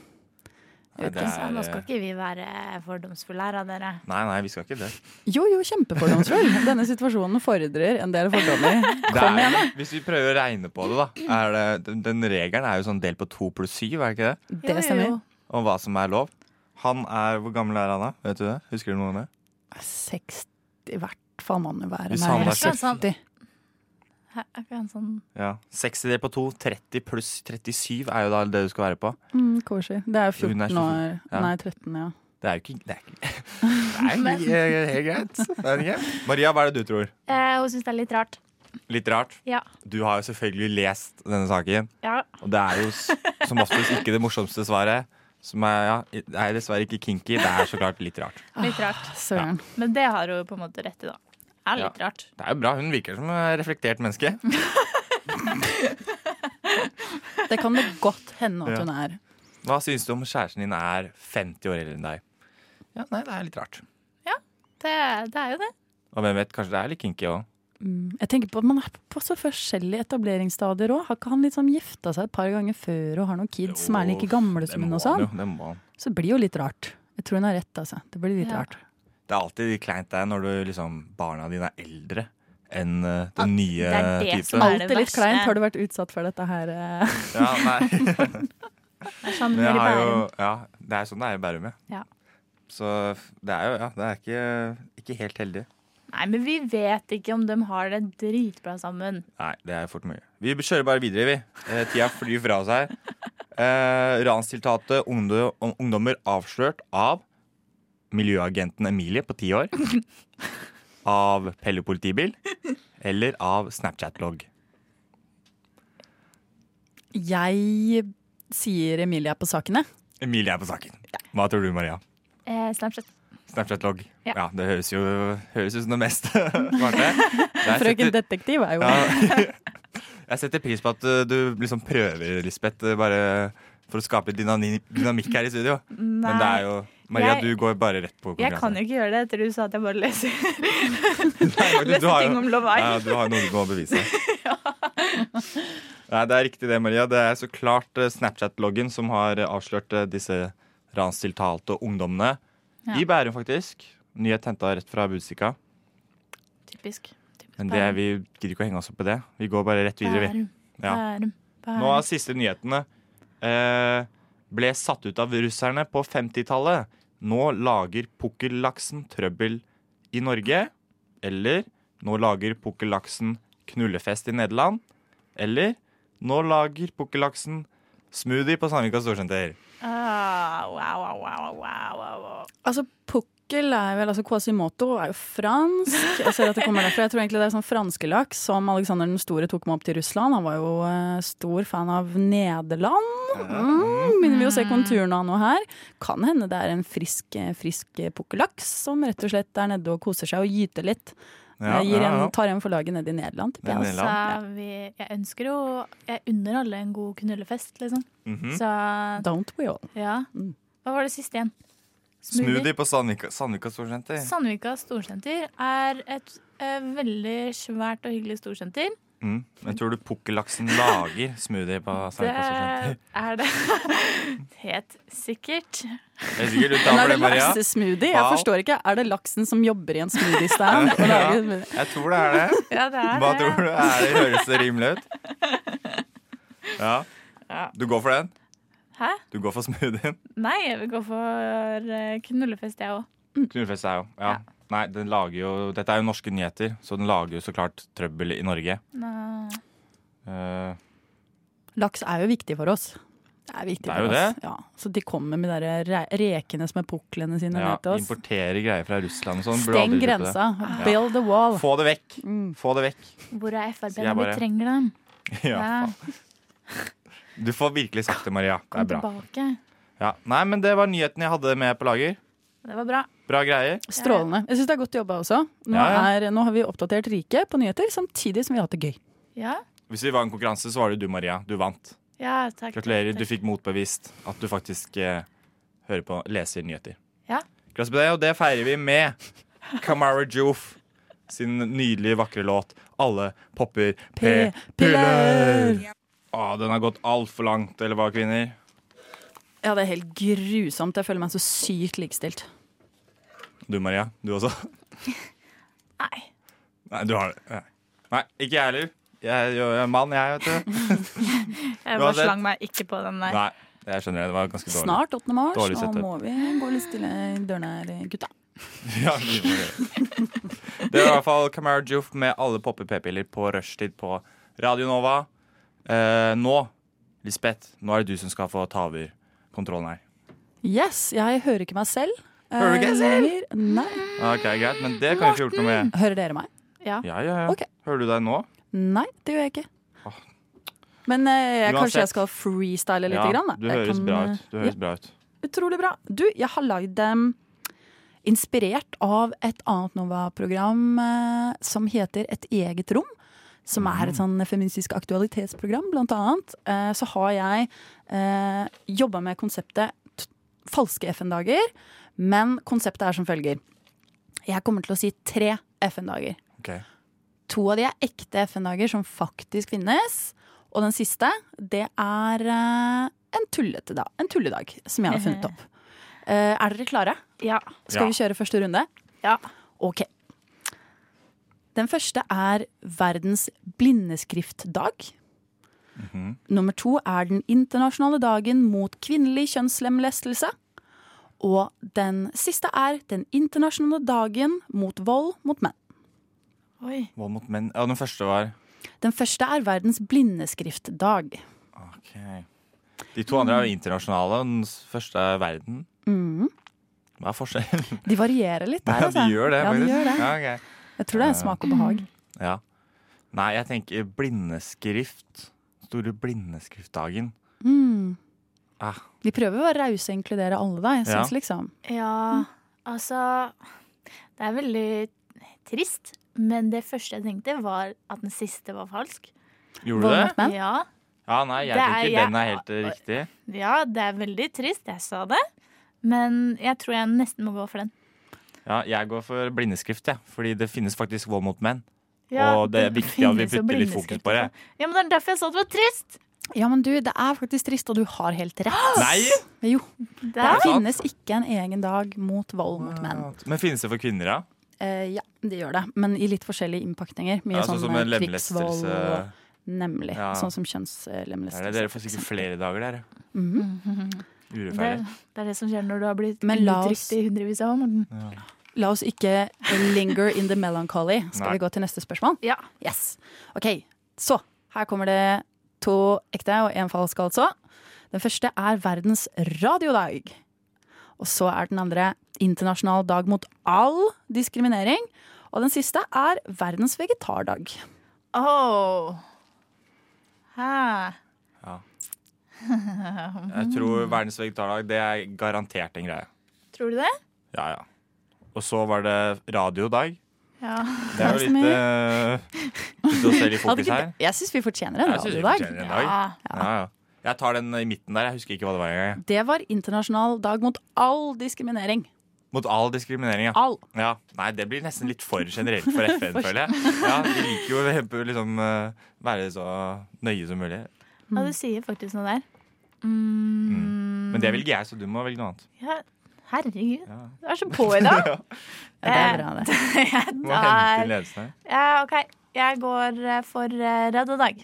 D: Nei, det
F: Så nå skal
D: er, eh,
F: ikke vi være fordomsfulle her, da, dere.
D: nei, nei, vi skal ikke det.
G: Jo, jo, kjempefordomsfull. Denne situasjonen fordrer en del fordommer.
D: det er, hvis vi prøver å regne på det, da. Er det, den, den regelen er jo sånn delt på to pluss syv, er det ikke det?
G: Det stemmer.
D: Om hva som er lov. Han er, Hvor gammel er han da? Vet du det? Husker du noe om det?
G: 60 i hvert fall må hun jo være.
D: Hvis
G: nærmere
D: han er
G: 70.
F: Hæ, Er ikke han sånn
D: Ja. 60 delt på 2, 30 pluss 37 er jo da det du skal være på.
G: Mm, kosher. Det er jo
D: Hun er
G: 14 år.
D: ja.
G: Nei, 13, ja.
D: Det er jo ikke Det er, ikke, det er ikke helt greit. Det er ikke. Maria, hva er det du tror?
F: eh, Hun syns det er litt rart.
D: Litt rart?
F: Ja.
D: Du har jo selvfølgelig lest denne saken,
F: ja.
D: og det er jo s- som oftest ikke det morsomste svaret. Som er, ja, det er dessverre ikke kinky, det er så klart litt rart.
F: Litt rart.
G: Søren.
F: Ah. Men det har hun jo på en måte rett i, da. Er litt rart.
D: Det er jo bra, hun virker som et reflektert menneske.
G: Det kan det godt hende at
D: Ja.
G: hun er.
D: Hva syns du om kjæresten din er 50 år eldre enn deg? Ja, nei, det er litt rart.
F: Det, det er jo det.
D: Og hvem vet, kanskje det er litt kinky òg.
G: Mm. Jeg tenker på at Man er på så forskjellige etableringsstadier òg. Har ikke han liksom gifta seg et par ganger før og har noen kids som er like gamle som hun? og sånn?
D: Det må han.
G: Så det blir jo litt rart. Jeg tror hun har rett, altså. Det blir litt
F: Ja.
G: rart.
D: Det er alltid litt kleint det når du liksom, barna dine er eldre enn eh, den nye
F: det er det som
D: typen.
F: er-
G: Alt
F: det
G: er litt
F: verste.
G: kleint. Har du vært utsatt for dette her? eh?
D: Ja, nei.
F: Det er sånn
D: Men jeg
F: når de
D: har
F: bærer
D: jo, ja, det er sånn det er i Bærum, ja.
F: Ja.
D: Så det er jo ja, det er ikke, ikke helt heldig.
F: Nei, men vi vet ikke om de har det dritbra sammen.
D: Nei, det er fort mye. Vi kjører bare videre, vi. Eh, Tida flyr fra oss her. Eh, Ranstiltatet 'Ungdo- Ungdommer avslørt av miljøagenten Emilie på ti år. Av Pelle politibil. Eller av Snapchat-logg.
G: Jeg sier Emilie er på sakene.
D: Emilie er på saken. Hva tror du, Maria?
F: Eh, Snapchat.
D: Snapchat-logg.
F: Ja.
D: Ja. det høres jo høres ut som det meste. Marte. Jeg
G: Frøken
D: setter-
G: Detektiv er jo
D: Ja. Jeg setter pris på at uh, du liksom prøver, Lisbeth, uh, bare for å skape litt dynani- dynamikk her i studio. Men det er jo Maria,
F: Jeg-
D: du går bare rett på
F: Jeg kan jo ikke gjøre det etter du sa at jeg bare leser,
D: ikke
F: leser ting om Love
D: Ja,
F: Island.
D: du har noe du må bevise. Nei, det er riktig det, Maria. Det er så klart eh, Snapchat-loggen som har eh, avslørt eh, disse ranstiltalte ungdommene. I Bærum, faktisk. Nyhet henta rett fra Budstikka.
F: Typisk. Typisk
D: Men det, er- vi gidder ikke å henge oss opp i det. Vi går bare rett videre, vi.
F: Bærum,
D: Ja.
F: Bærum, Bærum.
D: Nå er siste nyhetene. Eh, ble satt ut av russerne på 50-tallet. Nå lager pukkellaksen trøbbel i Norge. Eller nå lager pukkellaksen knullefest i Nederland. Eller nå lager pukkellaksen smoothie på Sandvika storsenter.
F: Ah, wow, wow, wow, wow, wow, wow.
G: Altså, pukkel er vel altså Quasimoto er jo fransk. Jeg ser at det kommer derfra. Jeg tror egentlig det er sånn franskelaks som Alexander den store tok med opp til Russland. Han var jo eh, stor fan av Nederland. Mm, begynner vi å se konturene av noe her. Kan hende det er en frisk, eh, frisk eh, pukkellaks som rett og slett er nede og koser seg og gyter litt.
D: Ja,
G: Jeg gir
D: ja, ja.
G: En, tar en for laget ned i Nederland, tipper jeg.
D: Ned i
F: Så
G: Altså.
F: vi, jeg ønsker jo Jeg unner alle en god knullefest, liksom.
D: Mhm.
F: Så
G: Don't we all.
F: ja.
G: Mm.
F: Hva var det siste igjen?
D: Smoothie på Sandvika, Sandvika storsenter.
F: Sandvika storsenter er et eh, veldig svært og hyggelig storsenter.
D: Mm. Men tror du pukkellaksen lager smoothie på
F: Det
D: Sandvika storsenter?
F: er det helt sikkert.
D: Jeg er sikkert du
G: Men
D: tar for
G: er det
D: det, Maria.
G: laksesmoothie? Jeg
D: Wow.
G: forstår ikke. Er det laksen som jobber i en smoothie stand? og lager smoothie?
D: Jeg tror det er det.
F: Ja, det er
D: Hva
F: det.
D: tror du? Er det høres det rimelig ut? Ja.
F: Ja.
D: Du går for den?
F: Hæ?
D: Du går for smoothien?
F: Nei, jeg vil gå for eh, knullefest, jeg òg.
D: Knullfest er jo ja.
F: Ja.
D: Nei, den lager jo Dette er jo norske nyheter, så den lager jo så klart trøbbel i Norge. Eh,
G: Laks er jo viktig for oss. Det er viktig
D: Det er jo
G: for oss. Ja. Så de kommer med de der re- rekene som er puklene sine
D: ja,
G: ned til oss.
D: importere greier fra Russland og sånn. burde
G: Steng
D: aldri gjort det.
G: grensa. Build the wall.
D: Få det vekk!
G: Mm.
D: Få det vekk.
F: Hvor er Frp
D: Sier
F: når
D: jeg
F: vi
D: bare.
F: trenger dem?
D: Ja,
F: Ja,
D: faen. Du får virkelig sagt det, Maria. Det
F: kom
D: er bra.
F: tilbake.
D: Ja. Nei, men det var nyheten jeg hadde med på lager.
F: Det var bra.
D: Bra greier.
G: Strålende. Jeg syns det er godt jobba også. Nå,
D: Ja,
G: Er, nå har vi oppdatert riket på nyheter, samtidig som vi har hatt det gøy.
F: Ja,
D: Hvis vi var en konkurranse, så var det du, Maria. Du vant.
F: ja takk.
D: Gratulerer,
F: takk.
D: du fikk motbevist at du faktisk eh, hører på leser nyheter.
F: Ja.
D: Gratulerer med det, og det feirer vi med Kamara Joof sin nydelige, vakre låt 'Alle popper p-piller'. Å, den har gått altfor langt, eller hva, kvinner?
G: Ja, det er helt grusomt. Jeg føler meg så sykt likestilt.
D: Du, Maria. Du også?
F: Nei.
D: Nei, du har det. Nei, Nei ikke jeg heller. Jeg, jeg er mann, jeg, vet du.
F: Jeg
D: Bra
F: bare
D: sett.
F: slang meg ikke på den der.
D: Nei, jeg skjønner det. Det var ganske dårlig.
G: Snart 8. mars.
D: Dårlig
G: Nå
D: setup.
G: må vi gå litt stille i dørene her, gutta.
D: Ja, vi må gjøre det. Det var i hvert fall Kamara Joof med alle poppe p-piller på rushtid på Radio Nova. Eh, nå, Lisbeth, nå er det du som skal få ta over kontrollen her.
G: Yes, jeg hører ikke meg selv.
D: Hører du ikke deg
G: selv? Nei.
D: Ok, Greit, men det kan vi ikke gjort noe med.
G: Hører dere meg?
D: Ja, ja, ja.
G: Ok.
D: Hører du deg nå?
G: Nei, det gjør jeg ikke.
D: Åh.
G: Men eh, jeg, kanskje
D: Ah. Uansett.
G: jeg skal freestyle litt?
D: ja,
G: grann, da.
D: Du
G: Jeg
D: høres
G: kan,
D: bra
G: eh,
D: ut. Du høres bra ut.
G: Ja, utrolig bra. Du, jeg har lagd dem inspirert av et annet Nova-program eh, som heter Et eget rom. Som er et sånn feministisk aktualitetsprogram, blant annet. Eh, så har jeg eh, jobba med konseptet t falske FN-dager, men konseptet er som følger. Jeg kommer til å si tre FN-dager.
D: Ok.
G: To av de er ekte FN-dager som faktisk finnes. Og den siste, det er eh, en tullete dag. En tulledag som jeg har funnet opp. Eh, er dere klare?
F: Ja.
G: Skal
D: Ja.
G: vi kjøre første runde?
F: Ja.
G: Ok. Den første er verdens blindeskriftdag.
D: Mhm.
G: Nummer to er den internasjonale dagen mot kvinnelig kjønnslemlestelse. Og den siste er den internasjonale dagen mot vold mot menn.
F: Oi.
D: Vold mot menn. Ja, den første var
G: Den første er verdens blindeskriftdag.
D: Ok. De to andre er jo internasjonale, og den s- første er verden.
G: Mhm.
D: Hva er forskjellen?
G: De varierer litt der,
D: Ja, de
G: altså.
D: gjør det,
G: Ja, de
D: faktisk.
G: gjør det.
D: Ja, Mm. ok.
G: Jeg tror det er smak og behag.
D: Ja. Nei, jeg tenker blindeskrift. Store blindeskriftdagen.
G: Mm.
D: Ah.
G: De prøver å være rause og inkludere alle, da. Jeg synes,
D: Ja.
G: liksom.
F: Ja, altså Det er veldig trist. Men det første jeg tenkte, var at den siste var falsk.
D: Gjorde du
G: Vold
D: det?
G: mot menn.
F: Ja,
D: Ja, nei, jeg
F: Det er
D: tenker
F: jeg-
D: den er helt eh, riktig.
F: ja, det er veldig trist. Jeg sa det. Men jeg tror jeg nesten må gå for den.
D: Ja, jeg går for blindeskrift, jeg. Fordi det finnes faktisk vold mot menn.
F: Ja,
D: Og det er viktig at vi
F: finnes jo
D: putter litt fokus på det.
F: blindeskrift også. Ja, men Det er derfor jeg sa det var trist!
G: Ja, men du, det er faktisk trist, og du har helt rett.
D: Nei!
G: Jo,
F: Det
G: det
F: er,
D: sant?
G: finnes ikke en egen dag mot vold mot menn.
D: Men finnes det for kvinner, ja?
G: Eh, ja, det gjør det, men i litt forskjellige innpakninger. Mye
D: ja sånn som en
G: sånn eh, krigsvold.
D: lemlestelse.
G: og- Nemlig.
D: Ja.
G: Sånn som
D: Er det- Dere
G: kjønnslemlestelse.
D: får sikkert flere dager der. ja.
F: Mhm. det, er,
D: Urettferdig.
F: det er det som skjer når du har blitt
G: Men la oss-
F: undertrykt i hundrevis av år. Morten.
G: La oss ikke linger in the melancholy. Skal
D: Nei.
G: vi gå til neste spørsmål?
F: Ja.
G: Yes. Ok, så her kommer det to ekte og én falsk, altså. Den første er verdens radiodag. Og så er den andre internasjonal dag mot all diskriminering. Og den siste er verdens vegetardag.
F: Åh. Hæ.
D: Jeg tror verdens vegetardag, det er garantert en greie.
F: Tror du det?
D: Ja, ja. Og så var det radiodag.
F: Ja.
D: Det er jo
G: Takk skal
D: litt
G: du
D: eh, Litt å se litt
G: Hadde
D: fokus
G: ikke-
D: her.
G: Jeg syns vi fortjener en
D: Jeg synes vi fortjener
G: radiodag.
D: en dag.
F: Ja.
D: Ja, ja. Jeg tar den i midten der. Jeg husker ikke hva det var engang.
G: Det var internasjonal dag mot all diskriminering.
D: Mot all diskriminering, ja.
G: All.
D: ja. Nei, det blir nesten litt for generelt for FN, føler jeg. Ja, De liker jo å liksom, eh, være så nøye som mulig.
F: ja, du sier faktisk noe der. Mm.
D: Men det velger jeg, så du må velge noe annet.
F: ja, Herregud,
D: Ja.
F: du er så på i dag.
G: Ja, det er bra, det.
D: Du må hente inn
F: Der.
D: ledelsen her.
F: Ja, OK, jeg går eh, for eh, radiodag.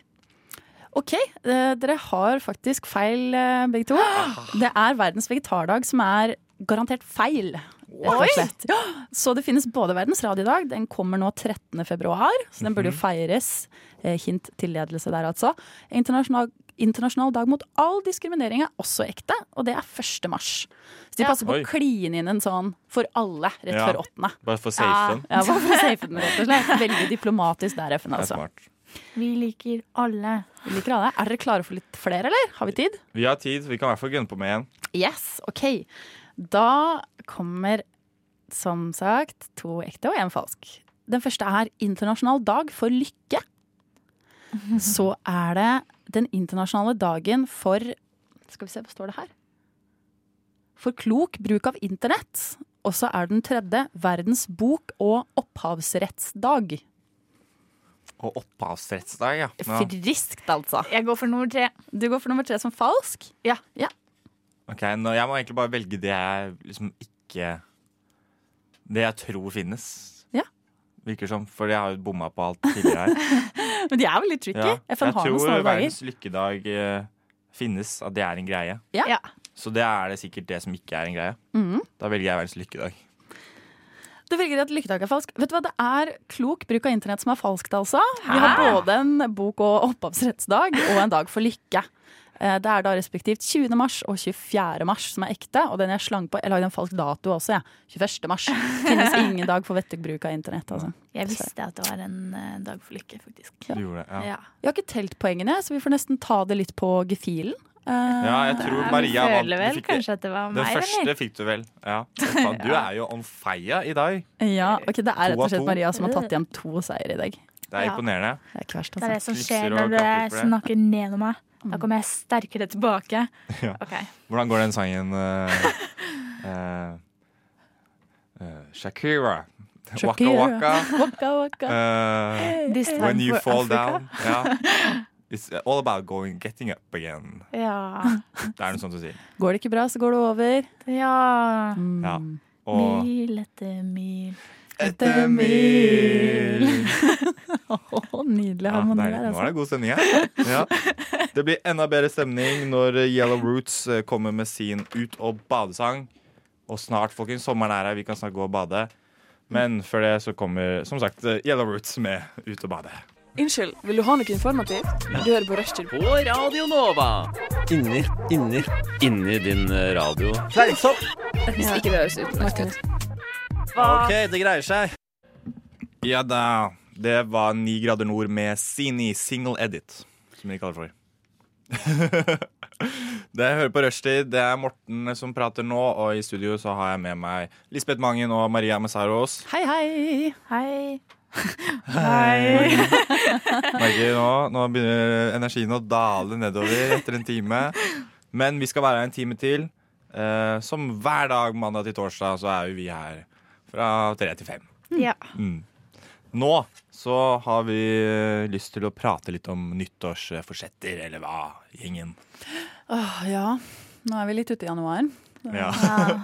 G: OK, eh, dere har faktisk feil, eh, begge to.
D: Ah.
G: Det er verdens vegetardag som er garantert feil. rett og
F: Oi!
G: slett. Ja, Så det finnes både verdens radiodag, den kommer nå 13. februar, så den
D: Mhm.
G: burde jo feires. Eh, Hint til ledelse der, altså. Internasjonal, internasjonal dag mot all diskriminering er også ekte, og det er 1. mars. Så de
F: Ja.
G: passer på
D: Oi.
G: å kline inn en sånn for alle rett
D: Ja.
G: før 8.
D: Bare for safe den.
G: Ja, bare for å safe den, rett og slett. Veldig diplomatisk der, FN,
D: Det er
G: altså.
D: smart.
F: Vi liker alle.
G: Vi liker alle. Er dere klare for litt flere, eller? Har vi tid?
D: Vi har tid, så vi kan i hvert fall gunne på med en.
G: Yes, ok. Da kommer, som sagt, to ekte og én falsk. Den første er internasjonal dag for lykke. Så er det den internasjonale dagen for Skal vi se, hva står det her? For klok bruk av internett. Og så er den tredje verdens bok- og opphavsrettsdag.
D: Og opphavsrettsdag, ja. ja.
G: Friskt, altså.
F: Jeg går for nummer tre.
G: Du går for nummer tre som falsk.
D: Ok, nå, Jeg må egentlig bare velge det jeg liksom ikke Det jeg tror finnes.
G: Ja.
D: Virker som, for jeg har jo bomma på alt tidligere her.
G: Men de er jo litt tricky.
D: Ja.
G: FN
D: Jeg
G: har noen
D: tror
G: snåle dager.
D: verdens lykkedag eh, finnes, at det er en greie.
G: Ja.
F: Ja.
D: Så det er det sikkert det som ikke er en greie. Da velger jeg verdens lykkedag.
G: Du velger at lykkedag er falsk. Vet du hva, Det er klok bruk av internett som er falskt, altså. Vi har både en bok- og opphavsrettsdag og en dag for lykke. Eh, Det er da respektivt 20. mars og 24. mars som er ekte. Og den jeg slang på, jeg lagde en falsk dato også, jeg. 21. mars. Finnes ingen dag for vettug bruk av internett, altså.
F: Jeg visste at det var en eh, dag for lykke, faktisk.
D: Du gjorde det, ja.
F: Ja.
G: Jeg har ikke telt poengene, så vi får nesten ta det litt på gefühlen. Eh,
D: ja, jeg tror
F: Jeg
D: Maria vant.
F: føler
D: Du
F: vel
D: fikk det.
F: kanskje at det var
D: Den
F: meg, eller?
D: første fikk du vel. Ja. Du er jo on fire i dag.
G: ja, ok, Det er
D: To
G: rett
D: av
G: og
D: to.
G: slett Maria som har tatt igjen to seier i dag.
D: Det er
F: Ja.
D: imponerende.
G: Det er ikke verst,
F: Det er
G: altså. Mm.
F: det som
D: Knipser
F: skjer
D: og
F: når
D: klapper for
F: du
D: det.
F: snakker ned om meg. Da kommer jeg sterkere tilbake.
D: Mm. Ja.
F: Ok.
D: Hvordan går den sangen eh, eh, eh, Shakira. Waka
G: Shakira.
D: waka.
G: Waka, waka.
D: eh,
F: This time
D: when you
F: for
D: fall
F: Africa.
D: down. Ja. It's all about going, getting up again.
F: Ja.
D: Det er noe sånt du sier.
G: Går det ikke bra, så går det over.
F: ja.
D: Ja. Og
F: Mil etter mil.
G: Etter mil. Å, nydelig
D: Ja,
G: harmoni
D: deilig.
G: der,
D: Nå er
G: altså.
D: det god stemning her. Ja. Det blir enda bedre stemning når Yellow Roots eh, kommer med sin Ut og badesang. Og snart, folkens, sommeren er her. Vi kan snart gå og bade. Men før det så kommer som sagt eh, Yellow Roots med Ut og bade.
I: Unnskyld, vil du ha noe informativt? Du hører på Rushtid.
J: På Radio Nova. Inni, inni Inni din eh, radio. Fleisopp!
I: Hvis ikke det høres utenlandsk ut.
J: OK, det greier seg.
D: Ja da. Det var Ni grader nord med Sini single edit, som de kaller det for. det jeg hører på rushtid, det er Morten som prater nå, og i studio så har jeg med meg Lisbeth Mangen og Maria Messaros.
G: Hei, hei!
F: Hei. Hei.
D: Merker nå, nå begynner energien å dale nedover etter en time. Men vi skal være her en time til. Eh, som hver dag mandag til torsdag så er jo vi her fra tre til fem.
F: Ja.
D: Mm. Nå så har vi eh, lyst til å prate litt om nyttårsforsetter, eller hva, gjengen.
G: Åh, ja. Nå er vi litt ute i januar.
D: Ja.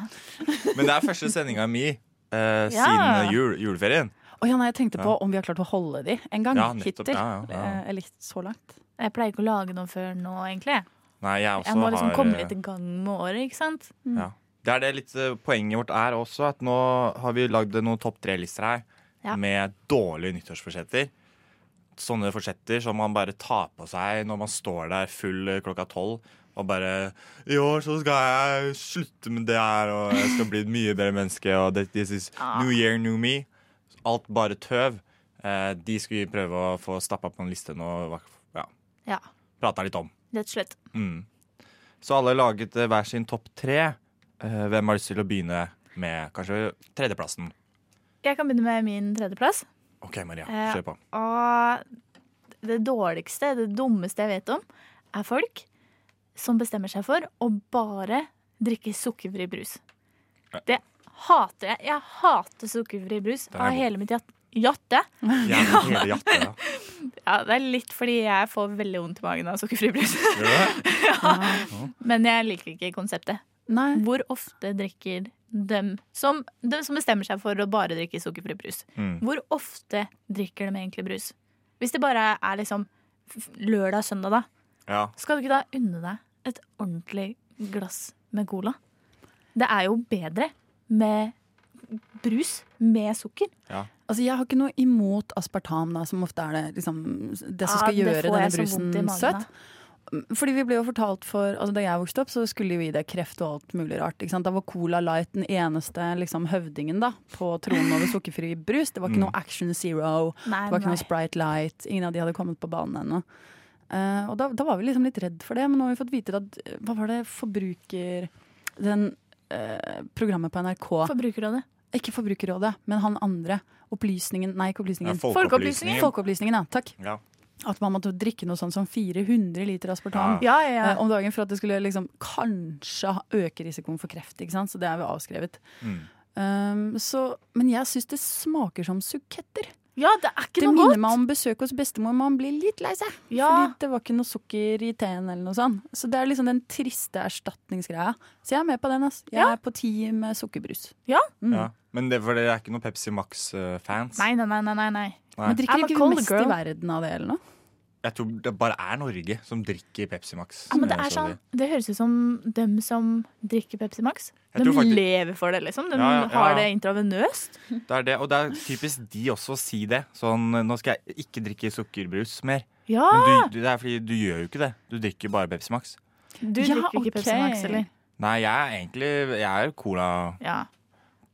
D: Men det er første sendinga mi eh,
F: Ah. Ja.
D: siden jul, juleferien.
G: Å ja, nei, jeg tenkte på
D: Ja.
G: om vi har klart å holde de en gang.
D: Ja, nettopp.
G: Hittil.
D: Ja, ja, ja.
G: Eh, Eller så langt.
F: Jeg pleier ikke å lage noe før nå, egentlig.
D: Nei, jeg også
F: Jeg må liksom
D: har
F: komme
D: eh,
F: litt i gang med året, ikke sant?
D: Ja. Det er det litt eh, poenget vårt er også, at nå har vi lagd noen topp tre-lister her
F: Ja.
D: med dårlige nyttårsforsetter. Sånne forsetter som man bare tar på seg når man står der full eh, klokka tolv og bare I år så skal jeg slutte med det her, og jeg skal bli et mye bedre menneske, og that this is new year, new me. Alt bare tøv. Eh, de skulle vi prøve å få stappa på en liste nå, ja,
F: Ja,
D: prata litt om.
F: rett og slett.
D: Mm. Så alle har laget eh, hver sin topp tre. Eh, Hvem har lyst til å begynne med kanskje tredjeplassen?
F: Jeg kan begynne med min tredjeplass.
D: OK, Maria.
F: Eh,
D: Kjør på.
F: Og det dårligste, det dummeste jeg vet om, er folk som bestemmer seg for å bare drikke sukkerfri brus. Det hater jeg. Jeg hater sukkerfri brus
D: er
F: av
D: god.
F: hele mitt hjert- hjerte.
D: Gjerne hele hjertet. da.
F: Ja, det er litt fordi jeg får veldig vondt i magen av sukkerfri brus.
D: Gjør du det?
F: Men jeg liker ikke konseptet.
G: Nei.
F: Hvor ofte drikker dem som, dem som bestemmer seg for å bare drikke sukkerfri brus?
D: Mm.
F: Hvor ofte drikker de egentlig brus? Hvis det bare er liksom f- lørdag og søndag, da,
D: Ja.
F: skal du ikke da unne deg et ordentlig glass med cola? Det er jo bedre med brus med sukker.
G: Altså, jeg har ikke noe imot aspartam, da, som ofte er det, liksom, det som
F: Ah,
G: skal gjøre
F: får
G: denne
F: jeg så vondt i
G: brusen
F: magen
G: søt. Mm,
F: av.
G: Fordi vi ble jo fortalt for, altså Da jeg vokste opp, så skulle vi det kreft og alt mulig rart. Ikke sant? Da var Cola Light den eneste liksom, høvdingen da, på tronen over sukkerfri brus. Det var ikke noe Action Zero,
F: Nei,
G: det var ikke
F: nei.
G: noe Sprite Light. Ingen av de hadde kommet på banen ennå. Eh, og da, da var vi liksom litt redd for det, men nå har vi fått vite at eh, Hva var det forbruker... Den eh, programmet på NRK
F: Forbrukerrådet.
G: Ikke Forbrukerrådet, men han andre. Opplysningen Nei, ikke
D: Ja,
G: Opplysningen.
D: Folkeopplysningen.
G: Folkeopplysningen, ja. Takk.
D: Ja.
G: At man måtte drikke noe sånn som 400 liter aspartam.
D: Ja.
F: Ja, ja,
G: eh, om dagen for at det skulle liksom kanskje ha- øke risikoen for kreft. ikke sant? Så det er jo avskrevet.
D: Mm.
G: Um, så, men jeg syns det smaker som suketter.
F: ja, det er ikke
G: Det
F: noe
G: minner
F: godt.
G: meg om besøk hos bestemor. Man blir litt lei seg.
F: Ja.
G: Fordi det var ikke noe sukker i teen eller noe sånt. Så det er liksom den triste erstatningsgreia. Så jeg er med på den. ass. Jeg
F: Ja.
G: er på ti med sukkerbrus.
F: Ja.
G: Mm.
D: ja. Men det, for dere er ikke noen Pepsi Max-fans?
F: Nei, nei, nei, nei, nei, nei.
D: Nei.
G: Men drikker
F: I'm a
G: ikke vi
F: cold
G: mest
F: girl.
G: i verden av det, eller noe?
D: Jeg tror det bare er Norge som drikker Pepsi Max.
F: Ja, men det,
D: Eh,
F: er sånn,
D: sorry.
F: det høres ut som dem som drikker Pepsi Max.
D: Jeg
F: De
D: tror faktisk-
F: lever for det, liksom. De
D: Ja, ja, ja, ja.
F: har det intravenøst.
D: Det er det, og det er typisk de også å si det. Sånn, nå skal jeg ikke drikke sukkerbrus mer.
F: Ja!
D: Men du, det
F: Ah!
D: er fordi du gjør jo ikke det. Du drikker bare Pepsi Max.
F: Du
G: Ja,
F: drikker ikke Pepsi
G: ok.
F: Max, eller?
D: Nei, jeg er egentlig Jeg er cola
F: Ja.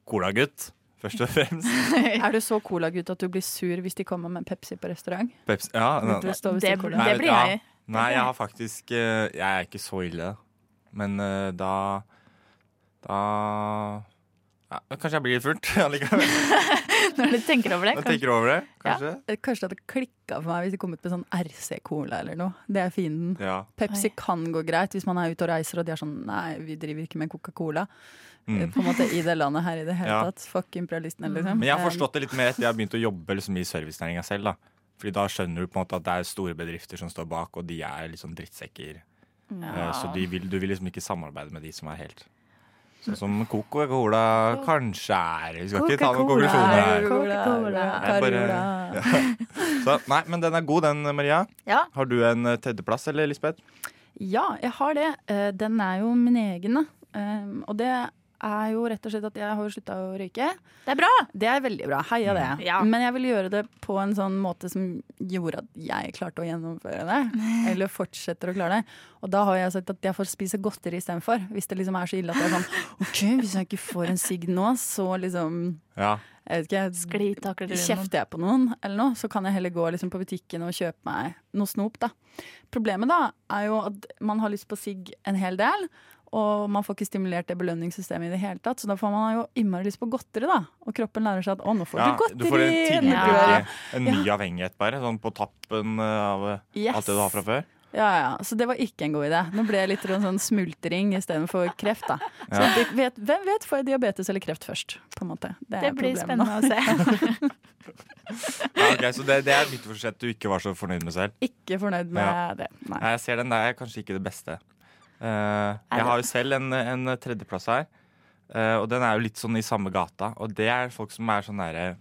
D: colagutt, først og fremst.
G: Er du så colagutt at du blir sur hvis de kommer med Pepsi på restaurant?
D: Pepsi. Ja,
G: Vet du,
D: nei,
G: står ved
F: Det-
G: siden av cola.
D: nei,
F: blir
D: ja.
F: jeg.
D: Nei, jeg har faktisk eh, Jeg er ikke så ille, men eh, da Da ja, Kanskje jeg blir litt fullt allikevel.
F: Når du tenker over det.
D: Jeg
F: kan-
D: tenker over det, kanskje.
G: Eh, Kanskje det hadde klikka for meg hvis de kom ut med sånn RC-cola eller noe. Det er fienden.
D: Ja.
G: Pepsi
F: Oi.
G: kan gå greit hvis man er ute og reiser og de er sånn nei, vi driver ikke med Coca-Cola. Eh,
D: Mm.
G: På en måte i det landet her i det hele
D: Ja.
G: tatt. Fuck imperialistene, liksom.
D: Men jeg har
G: Eh,
D: forstått det litt mer etter jeg har begynt å jobbe liksom, i servicenæringa selv. da Fordi da skjønner du på en måte at det er store bedrifter som står bak, og de er liksom drittsekker. Eh, Så de vil, du vil liksom ikke samarbeide med de som er helt Sånn som Coca-Cola kanskje er. Vi skal ikke ta noen
F: Coca-Cola.
D: konklusjoner her.
G: Cola,
F: Cola.
D: Jeg bare-
G: Eh, Carola.
D: Så, nei, men den er god, den, Maria.
F: Ja.
D: Har du en eh, tredjeplass, eller, Lisbeth?
G: Ja, jeg har det. Eh, Den er jo min egen, da. Um, Og det er jo rett og slett at jeg har slutta å røyke.
F: Det er bra!
G: Det er veldig bra. Heia det.
F: Ja.
G: Men jeg ville gjøre det på en sånn måte som gjorde at jeg klarte å gjennomføre det. Eller fortsetter å klare det. Og da har jeg sagt at jeg får spise godteri istedenfor. Hvis det liksom er så ille at jeg er sånn OK, hvis jeg ikke får en sigg nå, så liksom
D: Ja.
G: jeg vet ikke,
F: Sklitakler du noen?
G: Kjefter jeg på noen, eller noe, så kan jeg heller gå liksom, på butikken og kjøpe meg noe snop. Da. Problemet da er jo at man har lyst på sigg en hel del, og man får ikke stimulert det belønningssystemet i det hele tatt. Så da får man jo innmari lyst på godteri, da. Og kroppen lærer seg at å, nå får
D: Ja,
G: du godteri!
D: du får en
G: nå
D: tidlig
G: gjør jeg-
D: drikke. En ny avhengighet, bare. Sånn på tappen eh, av eh,
G: Yes.
D: alt det du har fra før.
G: Ja, ja, Så det var ikke en god idé. Nå ble jeg litt sånn sånn smultring istedenfor kreft, da. Så
D: Ja.
G: det- vet, hvem vet, får jeg diabetes eller kreft først? På en måte. Det, er
F: Det blir spennende
G: problemet nå.
F: å se.
D: Ja, ok, så det, det er litt forsett du ikke var så fornøyd med selv.
G: Ikke fornøyd med
D: Ja.
G: det. Nei.
D: Nei, jeg ser den der er kanskje ikke det beste. Eh, jeg
F: det-
D: har jo selv en, en tredjeplass her, eh, og den er jo litt sånn i samme gata. Og det er folk som er sånn derre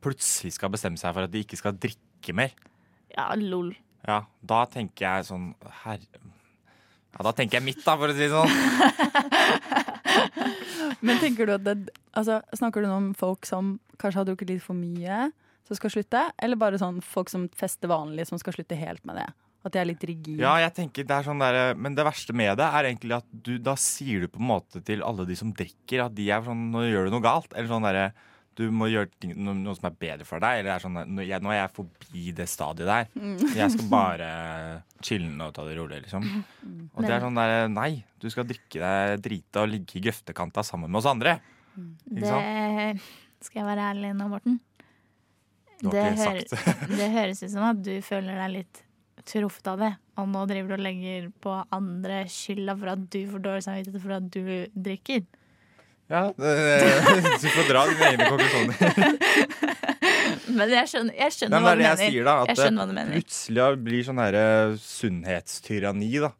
D: Plutselig skal bestemme seg for at de ikke skal drikke mer.
F: Ja, lol.
D: Ja, da tenker jeg sånn Herre Ja, da tenker jeg mitt, da, for å si det sånn.
G: Men tenker du at det, altså, Snakker du nå om folk som kanskje har drukket litt for mye, som skal slutte? Eller bare sånn folk som fester vanlig, som skal slutte helt med det? At de er litt
F: Mm.
G: rigide?
D: Ja, jeg tenker det er sånn der, Men det verste med det er egentlig at du, da sier du på en måte til alle de som drikker, at de er sånn Nå gjør du noe galt. Eller sånn derre Du må gjøre ting, no, noe som er bedre for deg. Eller er sånn der, nå, jeg, nå er jeg forbi det stadiet der.
F: Mm.
D: Jeg skal bare chille'n og ta det rolig, liksom.
F: Mm.
D: Og det er sånn der Nei, du skal drikke deg drita og ligge i grøftekanta sammen med oss andre. Ikke sant?
F: Det skal jeg være ærlig nå, Morten.
D: Du har
F: det
D: ikke
F: hører-
D: sagt
F: Det høres ut som at du føler deg litt truffet av det, og nå driver du og legger på andre skylda for at du får dårlig samvittighet for at du drikker.
D: Ja, det- du får dra dine egne konklusjoner.
F: Men jeg skjønner, jeg
D: Nei,
F: skjønner
D: men
F: hva
D: det er
F: du mener.
D: det jeg sier, da. At
F: jeg skjønner hva du mener.
D: det plutselig blir sånn her eh, sunnhetstyranni, da.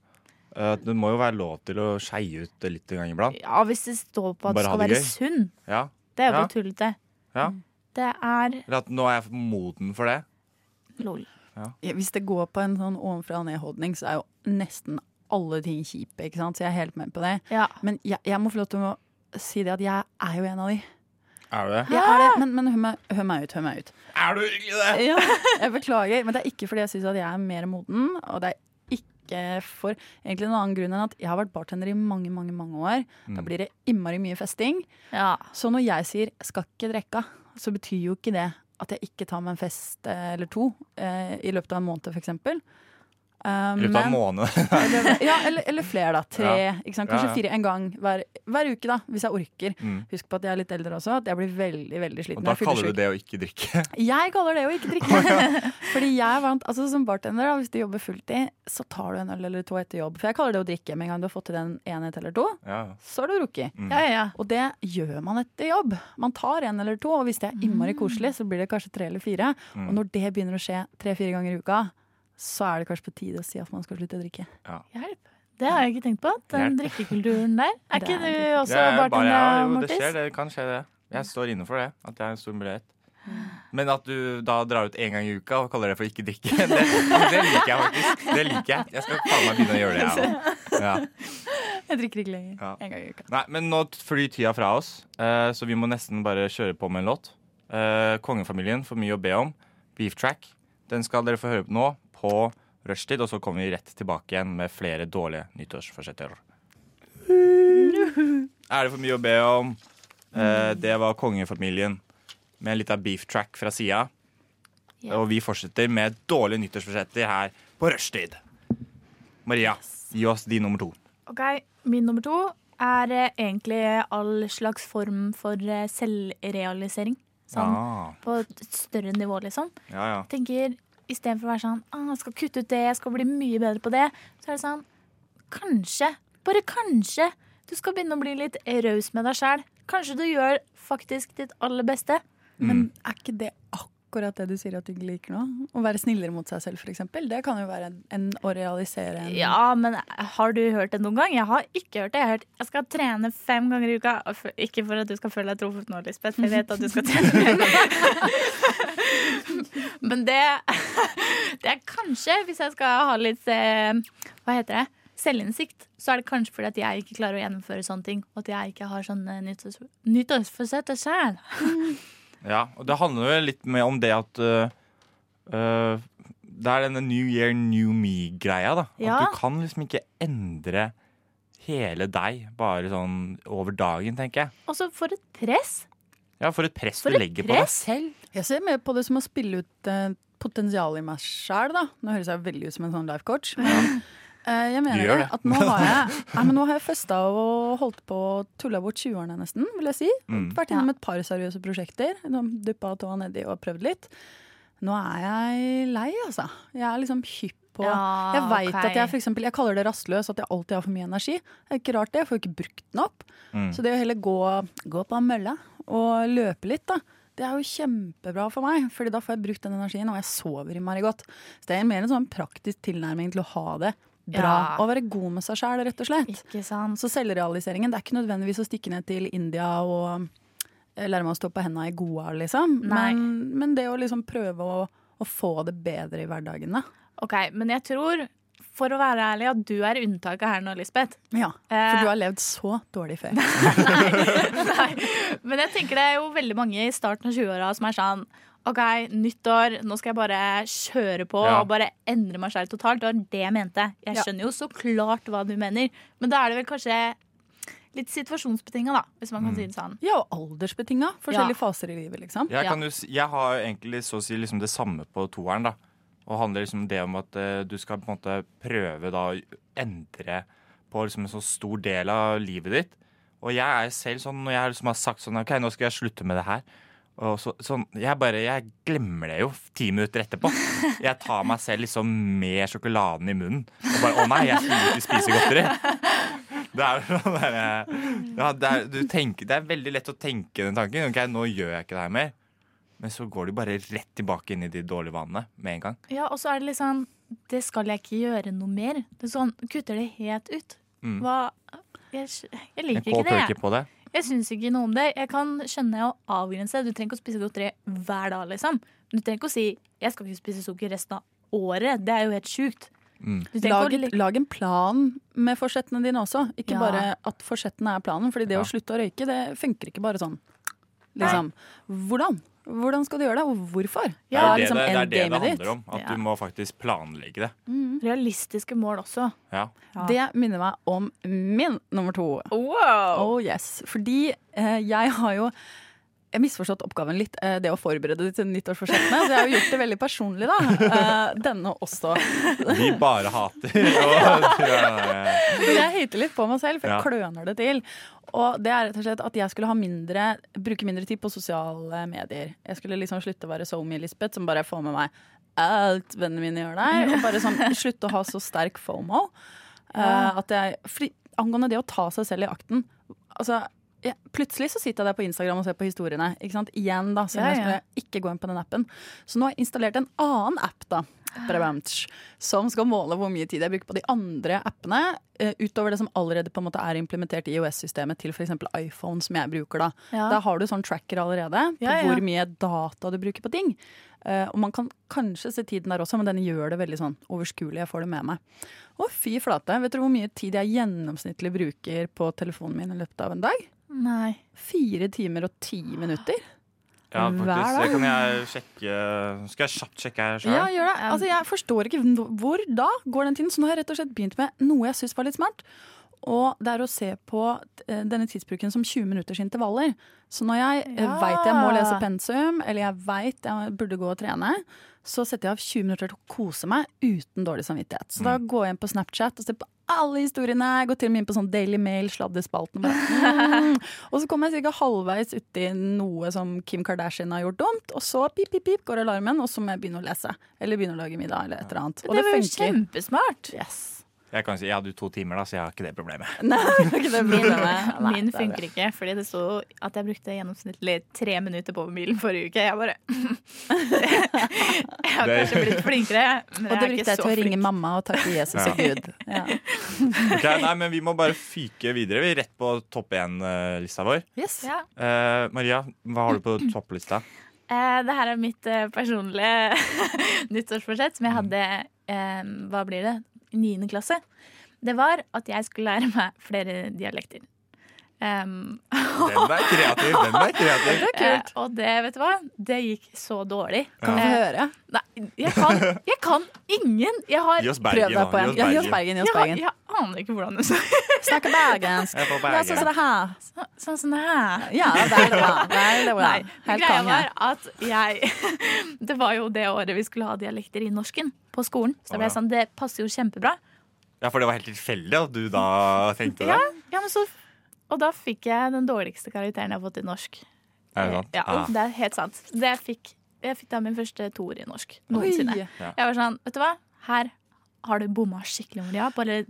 D: Eh, at Det må jo være lov til å skeie ut det litt en gang iblant.
F: Ja, hvis det står på at
D: Bare
F: du
D: ha det
F: skal være
D: gøy.
F: sunn.
D: Ja.
F: Det er jo
D: Ja.
F: bare tullete.
D: ja.
F: Det er
D: Eller at nå er jeg moden for det.
F: lol.
G: Hvis det går på en sånn ovenfra og ned-holdning, så er jo nesten alle ting kjipe. ikke sant? Så jeg er helt med på det.
F: Ja.
G: Men jeg, jeg må få lov til å si det at jeg er jo en av de.
D: Er du det?
G: Jeg er det, men men hør, meg, hør meg ut, hør meg ut.
D: Er du virkelig det?
G: Ja, jeg beklager, men det er ikke fordi jeg syns at jeg er mer moden. Og det er ikke for egentlig en annen grunn enn at jeg har vært bartender i mange mange, mange år.
D: Mm.
G: Da blir det innmari mye festing.
F: Ja.
G: Så når jeg sier 'skal ikke drikke', så betyr jo ikke det at jeg ikke tar meg en fest eh, eller to eh, i løpet av en måned, f.eks.
D: I løpet av en måned.
G: eller, ja, eller, eller flere, da. Tre.
D: Ja.
G: Ikke sant?
D: Ja,
G: Kanskje
D: ja.
G: fire en gang hver, hver uke, da, hvis jeg orker.
D: Mm.
G: Husk på at jeg er litt eldre også, at jeg blir veldig veldig sliten.
D: Og da
G: Jeg er
D: kaller
G: fyllesyk.
D: du det å ikke drikke.
G: Jeg kaller det å ikke drikke. Fordi jeg er vant, altså Som bartender, da, hvis du jobber fulltid, så tar du en øl eller to etter jobb. For jeg kaller det å drikke. Med en gang du har fått til en enhet eller to,
D: Ja.
G: så har du drukket.
F: Ja, ja, ja.
G: Og det gjør man etter jobb. Man tar en eller to, og hvis det er innmari koselig, så blir det kanskje tre eller fire. Og når det begynner å skje tre-fire ganger i uka, så er det kanskje på tide å si at man skal slutte å drikke.
F: Hjelp. Det har jeg ikke tenkt på. Den
D: Hjelp.
F: drikkekulturen der. Er
G: Det
F: ikke
G: er
F: du
G: litt-
F: også
D: Det er bare-
F: bartender,
D: ja, jo, det skjer,
F: Mortis?
D: det kan skje, det. Jeg står inne for det. At det er en stor mulighet. Men at du da drar ut én gang i uka og kaller det for ikke drikke, det, det liker jeg faktisk. Det liker jeg. Jeg skal faen meg begynne å gjøre det, jeg òg. Ja.
G: Jeg drikker ikke lenger.
D: Ja.
G: En gang i uka.
D: Nei, men nå flyr tida fra oss, eh, så vi må nesten bare kjøre på med en låt. Eh, Kongefamilien får mye å be om. Beef track. Den skal dere få høre på nå på rushtid, og så kommer vi rett tilbake igjen med flere dårlige nyttårsforsetter. Er det for mye å be om? Eh, det var Kongefamilien med en liten beef track fra sida.
F: Ja.
D: Og vi fortsetter med dårlige nyttårsforsetter her på rushtid. Maria, gi oss din nummer to.
F: Ok, Min nummer to er eh, egentlig all slags form for eh, selvrealisering. Sånn
D: Ah,
F: på et større nivå, liksom.
D: ja, ja.
F: tenker Istedenfor å være sånn ah, 'Jeg skal kutte ut det, jeg skal bli mye bedre på det', så er det sånn Kanskje, bare kanskje, du skal begynne å bli litt raus med deg sjæl. Kanskje du gjør faktisk ditt aller beste.
G: Men er ikke det akkurat det du sier at du ikke liker nå? Å være snillere mot seg selv, f.eks. Det kan jo være en, en å realisere en
F: Ja, men har du hørt det noen gang? Jeg har ikke hørt det. Jeg har hørt jeg skal trene fem ganger i uka. Og for- Ikke for at du skal føle deg truffet nå, Lisbeth, for jeg vet at du skal trene mer. men det, det er kanskje, hvis jeg skal ha litt eh, Hva heter det? selvinnsikt, så er det kanskje fordi at jeg ikke klarer å gjennomføre sånne ting. Og at jeg ikke har sånn eh, nyttårs- nyttårsforsett og sjæl.
D: Ja, og det handler jo litt mer om det at øh, øh, Det er denne New Year, New Me-greia, da.
F: Ja.
D: At du kan liksom ikke endre hele deg bare sånn over dagen, tenker jeg.
F: Og så for et press.
D: Ja, for et press
G: For
D: du
G: et
D: legger
G: press?
D: på deg selv.
G: Jeg ser mer på det som å spille ut eh, potensialet i meg sjæl, da. Nå høres jeg veldig ut som en sånn life coach. Men, eh, jeg mener
K: Du gjør
G: det.
K: det.
G: At nå har jeg, nei, men nå har jeg festa og holdt på og tulla bort 20-årene nesten, vil jeg si.
K: Mm.
G: Vært innom et par seriøse prosjekter. liksom Duppa tåa nedi og prøvd litt. Nå er jeg lei, altså. Jeg er liksom hypp på
K: Ja,
G: Jeg veit
K: ok.
G: at jeg for eksempel, jeg kaller det rastløs, at jeg alltid har for mye energi. Det er ikke rart det, jeg får ikke brukt den opp.
K: Mm.
G: Så det å heller gå, gå på en mølle og løpe litt, da. Det er jo kjempebra for meg, Fordi da får jeg brukt den energien, og jeg sover innmari godt. Så det er mer en sånn praktisk tilnærming til å ha det bra
F: Ja.
G: og være god med seg sjæl, rett og slett. Så selvrealiseringen, det er ikke nødvendigvis å stikke ned til India og eh, lære meg å stå på henda i goa, liksom.
F: Nei.
G: Men, men det å liksom prøve å, å få det bedre i hverdagen, da.
F: Ok, men jeg tror, for å være ærlig, at du er unntaket her nå, Lisbeth.
G: Ja,
F: Eh.
G: for du har levd så dårlig før.
F: Men jeg tenker det er jo veldig mange i starten av 20-åra som er sånn OK, nytt år, nå skal jeg bare kjøre på
K: Ja.
F: og bare endre meg selv totalt. Det var det jeg mente. Jeg
K: Ja.
F: skjønner jo så klart hva du mener, men da er det vel kanskje litt situasjonsbetinga, da, hvis man kan si det sånn.
G: Ja, og aldersbetinga. Forskjellige faser i livet, liksom.
D: Jeg, kan jo, si- jeg har jo egentlig så å si liksom det samme på toeren, da. Og handler liksom det om at eh, du skal på en måte prøve da å endre på liksom en så stor del av livet ditt. Og jeg er selv sånn, når jeg liksom har sagt sånn OK, nå skal jeg slutte med det her. Og så, sånn, jeg bare, jeg glemmer det jo ti minutter etterpå. Jeg tar meg selv liksom med sjokoladen i munnen. Og bare å nei, jeg skulle ikke spise godteri. Det er jo sånn derre ja, det, er, du tenker, det er veldig lett å tenke den tanken. Ok, nå gjør jeg ikke det her mer. Men så går du bare rett tilbake inn i de dårlige vanene med en gang.
F: Ja, og så er det litt sånn Det skal jeg ikke gjøre noe mer. Det er sånn, Kutter det helt ut.
D: Mm.
F: Hva Jeg, skj- jeg
D: Jeg
F: liker ikke det.
D: kåper
F: jeg.
D: ikke på det.
F: Jeg syns ikke noe om det. Jeg kan skjønne å avgrense. Du trenger ikke å spise godteri hver dag, liksom. Du trenger ikke å si 'jeg skal ikke spise sukker resten av året'. Det er jo helt sjukt. Du tenker
G: Lag,
F: å
G: et- lag en plan med forsettene dine også.
F: Ja.
G: Ikke bare at forsettene er planen. Fordi det å slutte å røyke, det funker ikke bare sånn. Liksom. Hvordan? Hvordan skal du gjøre det, og hvorfor?
D: det, er
G: liksom
D: jo det, det, er det,
G: endgamet
D: det
G: ditt.
D: handler om. At
G: Ja.
D: du må faktisk planlegge det.
F: Realistiske mål også.
D: Ja.
G: Det minner meg om min nummer to. Oh yes. Fordi eh, jeg har jo jeg misforstått oppgaven litt, eh, det å forberede det til nyttårsforsettene. Så jeg har jo gjort det veldig personlig, da. Eh, denne også.
D: Vi bare hater. Og,
G: Men jeg hater litt på meg selv, for jeg
D: Ja.
G: kløner det til. Og det er rett og slett at jeg skulle ha mindre, bruke mindre tid på sosiale medier. Jeg skulle liksom slutte å være SoMe-Lisbeth, som bare får med meg alt vennene mine gjør der. Og bare sånn, slutte å ha så sterk FOMO. eh,
K: Ja.
G: at jeg, fordi, angående det å ta seg selv i akten altså, jeg, Plutselig så sitter jeg der på Instagram og ser på historiene. Ikke sant? Igjen, da. Selv om
K: Ja,
G: jeg
K: ja.
G: skulle ikke gå inn på den appen. Så nå har jeg installert en annen app da, Brabantsch, som skal måle hvor mye tid jeg bruker på de andre appene, eh, utover det som allerede på en måte er implementert i IOS-systemet til f.eks. iPhone, som jeg bruker. da.
K: Ja.
G: Der har du sånn tracker allerede på
K: Ja, ja.
G: hvor mye data du bruker på ting. Eh, og man kan kanskje se tiden der også, men den gjør det veldig sånn overskuelig. Jeg får det med meg. Å, fy flate. Vet dere hvor mye tid jeg gjennomsnittlig bruker på telefonen min i løpet av en dag?
F: Nei.
G: Fire timer og ti minutter.
D: ja, faktisk.
G: Hver dag.
D: Det kan jeg sjekke Skal jeg kjapt sjekke her sjøl?
G: Ja, gjør det. Altså, jeg forstår ikke hv- hvor da går den tiden. Så nå har jeg rett og slett begynt med noe jeg syns var litt smart. Og det er å se på eh, denne tidsbruken som 20 minutters intervaller. Så når jeg ja.
K: Ja.
G: veit jeg må lese pensum, eller jeg veit jeg burde gå og trene, så setter jeg av 20 minutter til å kose meg uten dårlig samvittighet. Så da går jeg inn på Snapchat og ser på alle historiene. Jeg går til og med inn på sånn Daily Mail, sladdespalten. og Bare. Mm. Og så kommer jeg cirka halvveis uti noe som Kim Kardashian har gjort dumt, og så pip, pip, pip går alarmen, og så må jeg begynne å lese. Eller begynne å lage middag, eller et eller annet. Og
F: det
G: det,
F: var jo
G: funker.
F: kjempesmart.
G: Yes.
D: Jeg kan si, jeg hadde jo to timer, da, så jeg har ikke det problemet.
G: Nei, det var ikke det
F: Min,
G: problemet.
F: eh, min
G: Nei, det er
F: funker ikke, fordi det sto at jeg brukte gjennomsnittlig tre minutter på mobilen forrige uke. Jeg bare Jeg har
D: Det-
F: kanskje blitt flinkere, men
G: Og det
F: jeg er
G: brukte
F: ikke
G: jeg
F: så
G: til å
F: flink.
G: ringe mamma og takke Jesus
D: Ja.
G: og Gud. Ja.
D: Ok, nei, men Vi må bare fyke videre. Vi er rett på topp én-lista vår.
G: Yes.
F: Ja.
D: Eh, Maria, hva har du på topplista?
F: Eh, det her er mitt eh,
G: Mm.
F: personlige nyttårsforsett som jeg hadde eh, Hva blir det? I niende klasse. det var at jeg skulle lære meg flere dialekter. Um,
D: Den er kreativ, den er kreativ.
G: Det er kult.
F: Eh, og det, vet du hva, det gikk så dårlig.
G: Kan vi få
F: Eh,
G: høre?
F: Nei, jeg kan, jeg kan ingen. Jeg har
D: Gi oss Bergen,
G: Prøv deg på
D: da.
G: en. Ja, gi oss Bergen. Gi oss
F: Jeg, har,
G: Bergen.
F: jeg aner ikke hvordan det så
G: Snakke bergensk.
D: Jeg er på
G: Ja, sånn
D: Bergen.
G: som det her.
F: så- Sånn som det her.
G: Ja, det er det bra. Det er det bra.
F: Nei,
G: Helt
F: greia
G: konge.
F: var at jeg Det var jo det året vi skulle ha dialekter i norsken på skolen. Så da ble
D: Å,
F: jeg
D: ja.
F: sånn, det passer jo kjempebra.
D: Ja, for det var helt tilfeldig at du da tenkte det.
F: Ja, ja, men så Og da fikk jeg den dårligste karakteren jeg har fått i norsk.
D: Er det sant?
F: Ja,
D: Ah.
F: det er helt sant. Det jeg fikk, jeg fikk da min første toer i norsk noensinne.
G: Oi.
D: Ja.
F: Jeg var sånn, vet du hva, her har du bomma skikkelig, Maria. Bare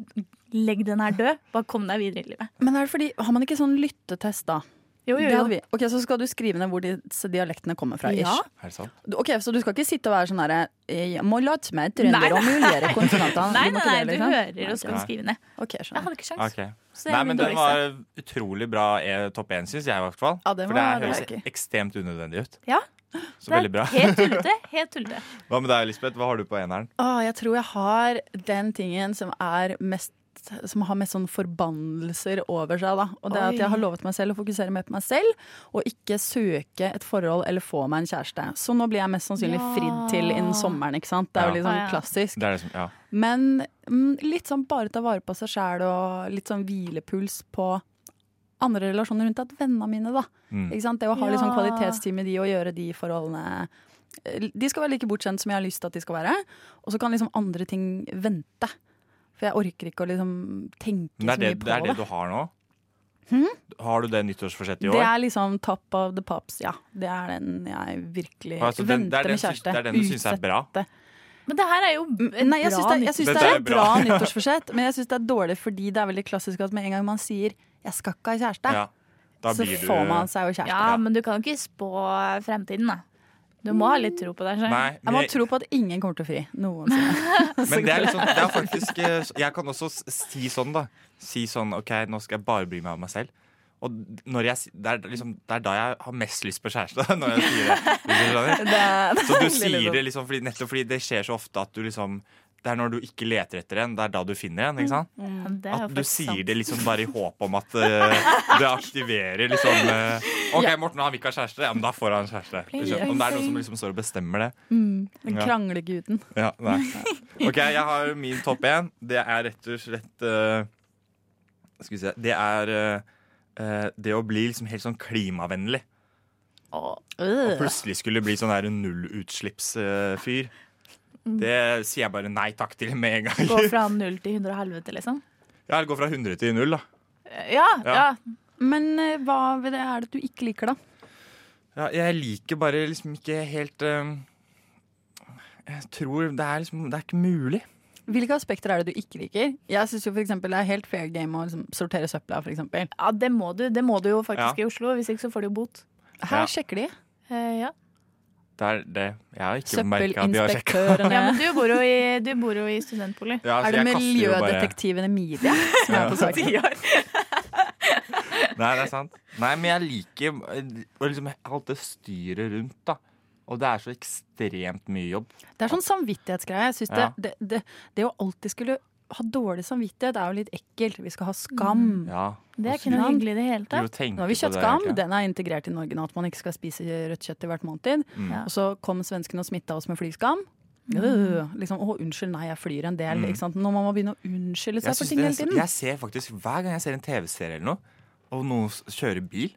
F: legg den her død. Bare kom deg videre i livet.
G: Men er det fordi, har man ikke sånn lyttetest da?
F: Jo,
G: Det hadde vi. Ok, Så skal du skrive ned hvor disse dialektene kommer fra? ish.
F: Ja.
D: Er det sant?
G: Du- Ok, Så du skal ikke sitte og være sånn herre Jeg må late meg trønder og muligere konsonantene.
F: Nei,
G: Du må
F: nei,
G: ikke
F: nei,
G: det,
F: du
G: liksom.
F: hører og skal
D: Nei.
F: skrive ned.
G: Ok,
F: Jeg
G: skjønner.
F: hadde ikke sjans.
D: Ok.
F: Så jeg
D: Nei,
F: er
D: men
F: min
D: den
F: dårligste.
D: var utrolig bra eh, topp én, syns jeg i hvert fall.
G: Ja, den
D: For det
G: var- den
D: høres
G: var gøy.
D: ekstremt unødvendig ut.
F: Ja.
D: Så veldig bra.
F: Helt tullete. Helt tullete.
D: Hva med deg, Lisbeth? Hva har du på eneren?
G: Å, jeg tror jeg har den tingen som er mest som har mest sånn forbannelser over seg. da Og det er at
F: Oi.
G: Jeg har lovet meg selv å fokusere mer på meg selv, og ikke søke et forhold eller få meg en kjæreste. Så nå blir jeg mest sannsynlig
F: Ja.
G: fridd til innen sommeren. ikke sant? Det er jo
D: Ja.
G: litt sånn
F: Ah, ja.
G: klassisk.
D: Det er det som, ja.
G: Men mm, litt sånn bare ta vare på seg sjæl og litt sånn hvilepuls på andre relasjoner rundt at vennene mine, da.
D: Mm.
G: Ikke sant? Det å ha litt sånn
F: Ja.
G: kvalitetstid med de og gjøre de forholdene eh, De skal være like bortskjemt som jeg har lyst til at de skal være. Og så kan liksom andre ting vente. For jeg orker ikke å liksom tenke
D: Men det
G: så mye
D: er det,
G: på
D: det er
G: det. Hmm?
D: det du har nå? Har du det nyttårsforsettet i
G: Det
D: år?
G: er liksom top of the pops, ja. Det er den jeg virkelig
D: Altså, den- det er
G: venter
D: den
G: med
D: syns-
G: kjæreste.
D: det er den du syns er bra.
G: Utsette.
F: Men det her er jo et
G: Mm, Nei, jeg syns
F: bra
G: det, jeg syns
D: Dette
G: det er
D: er
G: et
D: bra.
G: bra nyttårsforsett, men jeg syns det er dårlig fordi det er veldig klassisk at med en gang man sier 'jeg skal ikke ha kjæreste',
D: Ja. Da
G: så
D: blir du
G: får man seg jo kjæreste.
F: Ja, men du kan jo ikke spå fremtiden, da. Du må ha litt tro på deg selv.
D: Nei,
G: Jeg må
D: men,
G: tro på at ingen kommer til å fri noensinne.
D: men det er liksom Det er faktisk eh, så- Jeg kan også s- si sånn, da. Si sånn OK, nå skal jeg bare bry meg om meg selv. Og når jeg, si- det, er liksom, det er da jeg har mest lyst på kjæreste. Når jeg sier det. Hvis du skjønner.
G: Det er- det er
D: Så du
G: veldig
D: sier
G: dumt.
D: det liksom fordi, nettopp fordi det skjer så ofte at du liksom Det er når du ikke leter etter en, det er da du finner en. ikke sant?
F: Ja, det er jo
D: At du sier
F: faktisk sant.
D: det liksom bare i håp om at eh, det aktiverer liksom eh, OK, Morten han vil ikke ha kjæreste, ja, men da får han kjæreste.
F: Pling,
D: Liksom.
F: pling,
D: Om det er noen som
F: pling.
D: liksom står og bestemmer det.
G: Den
D: Ja.
G: krangleguden.
D: Ja, nei. OK, jeg har min topp én. Det er rett og slett eh, Skal vi se Det er eh, eh, det å bli liksom helt sånn klimavennlig. Og plutselig skulle bli sånn der nullutslippsfyr. Det sier jeg bare nei takk til med en
F: Gå
D: gang.
F: fra null til hundre og helvete, liksom.
D: Ja, eller gå fra 100 til null, da.
F: Ja,
D: Ja.
F: ja.
G: Men eh, hva ved det er det du ikke liker, da?
D: Ja, jeg liker bare liksom ikke helt eh, Jeg tror det er liksom Det er ikke mulig.
G: Hvilke aspekter er det du ikke liker? Jeg syns jo for eksempel det er helt fair game å liksom sortere søpla, for eksempel.
F: ja det, må du, det må du jo faktisk
D: Ja.
F: i Oslo. Hvis ikke så får du jo bot.
G: Her
D: Ja.
G: sjekker de.
F: Eh, ja.
D: Det er det. Jeg har ikke merka at de har sjekka.
G: Søppelinspektørene.
F: ja, men du bor jo i, du bor jo i studentbolig.
D: Ja,
G: Er
D: så jeg
G: det
D: kaster jo bare-
G: miljødetektiven Emilie som er på saken?
D: Nei, det er sant. Nei, men jeg liker eh, og liksom, alt det styret rundt, da. Og det er så ekstremt mye jobb.
G: Det er sånn samvittighetsgreie. Jeg synes
D: Ja.
G: det, det, det, det å alltid skulle ha dårlig samvittighet er jo litt ekkelt. Vi skal ha skam.
D: Ja.
F: Det er ikke noe hyggelig i det hele tatt.
G: Nå har vi kjøttskam. Den er integrert i Norge nå, at man ikke skal spise rødt kjøtt i hvert måltid.
D: Mm.
F: Ja.
G: Og så kom svenskene og smitta oss med flyskam. Øh, liksom, å, unnskyld, nei, jeg flyr en del. Ikke sant? Når man må begynne å unnskylde
D: Mm. Jeg,
G: seg for
D: synes
G: ting hele
D: det,
G: tiden.
D: jeg ser faktisk Hver gang jeg ser en TV-serie eller noe, og noen s- kjører bil,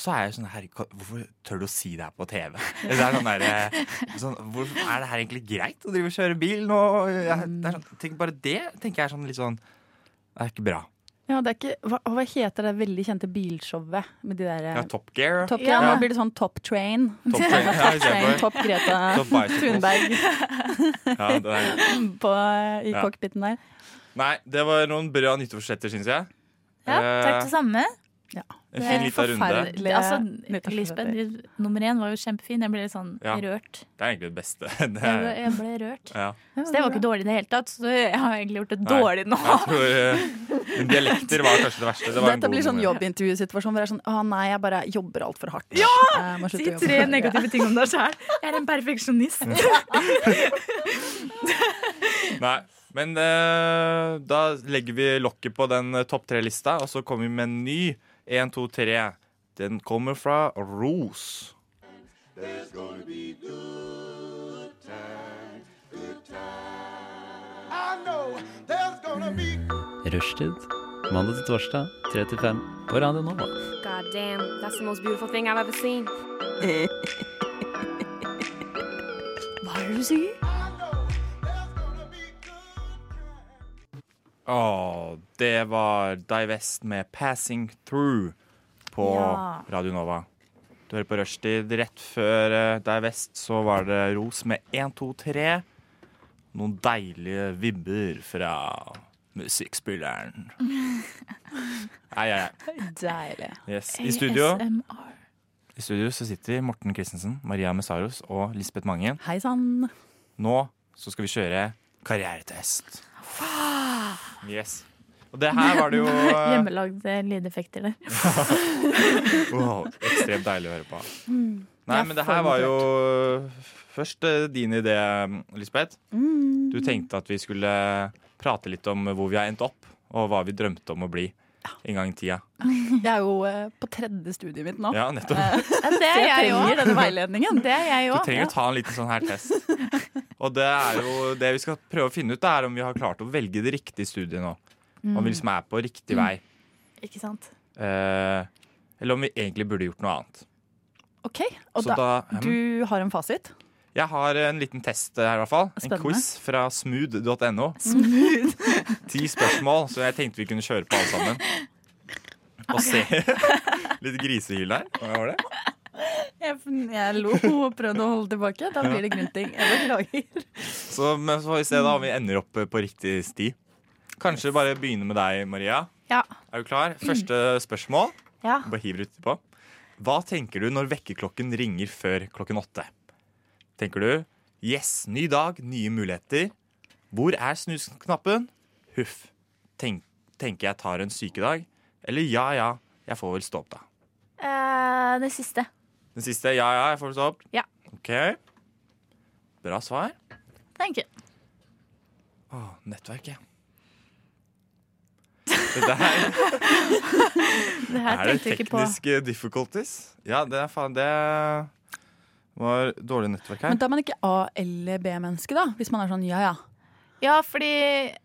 D: så er jeg sånn Herregud, hvorfor tør du å si det her på TV? Det er sånn der, eh, sånn, hvor, er det her egentlig greit å drive og kjøre bil nå? Jeg, det er sånn, tenk bare det tenker jeg er sånn litt sånn Det er ikke bra.
G: Ja, det er ikke, hva, hva heter det veldig kjente bilshowet med de der eh,
D: Ja, Top Gear.
G: Top, ja.
F: Ja.
G: Nå blir det sånn Top Train.
D: Top Gear. Ja, i stedet
G: Train
D: for-
G: top Greta
D: Top Bicycles.
G: Thunberg
D: ja, det er,
G: på, eh, i
D: Ja.
G: cockpiten der.
D: Nei, det var noen bra nyttårsforsetter, syns jeg.
F: Ja, takk det samme.
D: eh, En fin
G: Det er
D: liten runde.
G: forferdelig.
F: Det, altså,
G: nyttårsforsetter.
F: Lisbeth, du- nummer én var jo kjempefin. Jeg ble litt sånn
D: Ja.
F: rørt.
D: Det er egentlig det beste. Det
F: Jeg ble,
D: er,
F: jeg ble rørt.
D: ja.
F: Så det var ikke dårlig i det hele tatt. Så jeg har egentlig gjort det
D: Nei.
F: dårlig nå.
D: Jeg tror eh, Dialekter var kanskje det verste. Det var en
G: Dette
D: god
G: blir sånn
D: nummer.
G: jobbintervjusituasjon hvor det er sånn Å nei, jeg bare jobber altfor hardt. Jeg må slutte
F: Si
G: å jobbe
F: tre
G: for hardt.
F: negative ting om deg sjøl. Jeg er en perfeksjonist.
D: Nei, Men eh, da legger vi lokket på den eh, topp tre-lista, og så kommer vi med en ny. Én, to, tre. Den kommer fra Ros.
J: Rushtid. Mandag til torsdag, 3 til 5 på Radio Nova.
K: God damn, that's the most beautiful thing I've ever seen.
F: Hva er det du sier?
D: Å, det var Divest med 'Passing Through' på
F: Ja.
D: Radio Nova. Du hører på Rushtid. Rett før uh, Divest så var det Ros med 1, 2, 3. Noen deilige vibber fra musikkspilleren. Nei, ja, ja.
G: Deilig.
D: Yes. I studio I studio så sitter Morten Christensen, Maria Messaros og Lisbeth Mangen.
G: Hei sann.
D: Nå så skal vi kjøre karrieretest. Yes. Og det her var det jo eh,
F: Hjemmelagde lydeffekter der.
D: wow, ekstremt deilig å høre på.
F: Mm.
D: Nei,
F: Jeg
D: men det
F: får
D: her var
F: den
D: jo først eh, din idé, Lisbeth.
G: Mm.
D: Du tenkte at vi skulle prate litt om hvor vi har endt opp, og hva vi drømte om å bli en gang i tida.
G: Jeg er jo eh, på tredje studiet mitt nå.
D: Ja, nettopp.
G: Eh,
F: Ja, det
G: Så
F: er jeg
G: jeg trenger
F: òg.
G: denne veiledningen.
F: Det er jeg
D: Du
F: òg.
D: trenger å ta en liten sånn her test. Og det er jo det vi skal prøve å finne ut, det er om vi har klart å velge det riktige studiet nå.
G: Mm.
D: Om vi liksom er på riktig vei.
F: Ikke sant?
D: Eh, eller om vi egentlig burde gjort noe annet.
G: OK. Og
D: Så
G: da,
D: da-
G: du har en fasit?
D: Jeg har en liten test her, i hvert fall.
G: Spennende.
D: En quiz fra smooth.no.
G: Smooth.
D: Ti spørsmål, så jeg tenkte vi kunne kjøre på alle sammen. Og se Litt grisehyl der. Hva var det?
G: Jeg, jeg lo og prøvde å holde tilbake. Da blir det grunting. Jeg beklager.
D: Så, men så får vi se da om vi ender opp eh, på riktig sti. Kanskje bare begynne med deg, Maria.
F: Ja.
D: Er du klar? Første spørsmål.
F: Ja.
D: Bare hiver uti på. Hva tenker du når vekkerklokken ringer før klokken åtte? Tenker du yes, ny dag, nye muligheter? Hvor er snusknappen? Huff. Tenk, tenker jeg tar en sykedag? Eller ja ja, jeg får vel stå opp, da.
F: Eh, det siste.
D: Den siste ja ja, jeg får vel stå opp?
F: Ja.
D: OK. Bra svar.
F: Thank you.
D: Å, nettverk, ja. Dette her
F: Det her
D: Er det
F: tenkte jeg ikke på.
D: tekniske difficulties? Ja, det er faen Det var dårlig nettverk her.
G: Men da er man ikke A- eller B-menneske, da? Hvis man er sånn ja ja.
F: Ja, fordi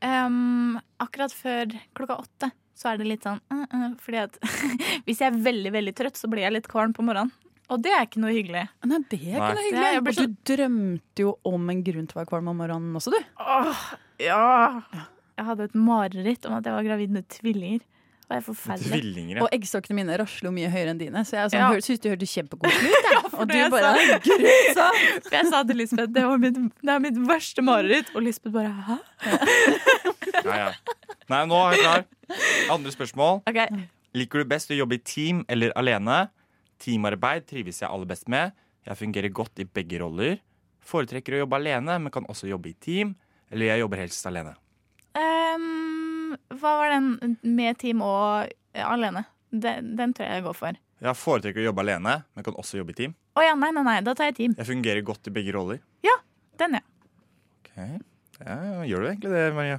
F: ehm, akkurat før klokka åtte så er det litt sånn eh, eh, Fordi at hvis jeg er veldig, veldig trøtt, så blir jeg litt kvalm på morgenen. Og det er ikke noe hyggelig.
G: Nei, det er ikke
F: Nei. Det
G: noe
F: er-
G: hyggelig.
F: jeg blir
G: Og du drømte jo om en grunn til å være kvalm om morgenen også, du.
F: ja. Jeg hadde et mareritt om at jeg var gravid med tvillinger. Det var helt forferdelig.
D: Tvillinger,
G: Og eggstokkene mine rasler jo mye høyere enn dine, så jeg sånn,
F: Ja.
G: hør- synes du hørte kjempegod ut. Ja, og du
F: det jeg
G: bare
F: sa.
G: sånn. grusom.
F: For jeg sa til Lisbeth det, var mitt, det er mitt verste mareritt, og Lisbeth bare hæ?
D: Ja, ja. Nei, nå er jeg klar. Andre spørsmål.
F: Ok.
D: Liker du best å jobbe i team eller alene? Teamarbeid trives jeg aller best med. Jeg fungerer godt i begge roller. Foretrekker å jobbe alene, men kan også jobbe i team. Eller jeg jobber helst alene.
F: Ehm, hva var den med team og eh, alene? Den, den tror jeg jeg går for.
D: Jeg foretrekker å jobbe alene, men kan også jobbe i team.
F: Å ja, nei, nei, nei, da tar jeg team.
D: Jeg fungerer godt i begge roller.
F: Ja, den, ja.
D: Ok. Ja, gjør du egentlig det, Maria?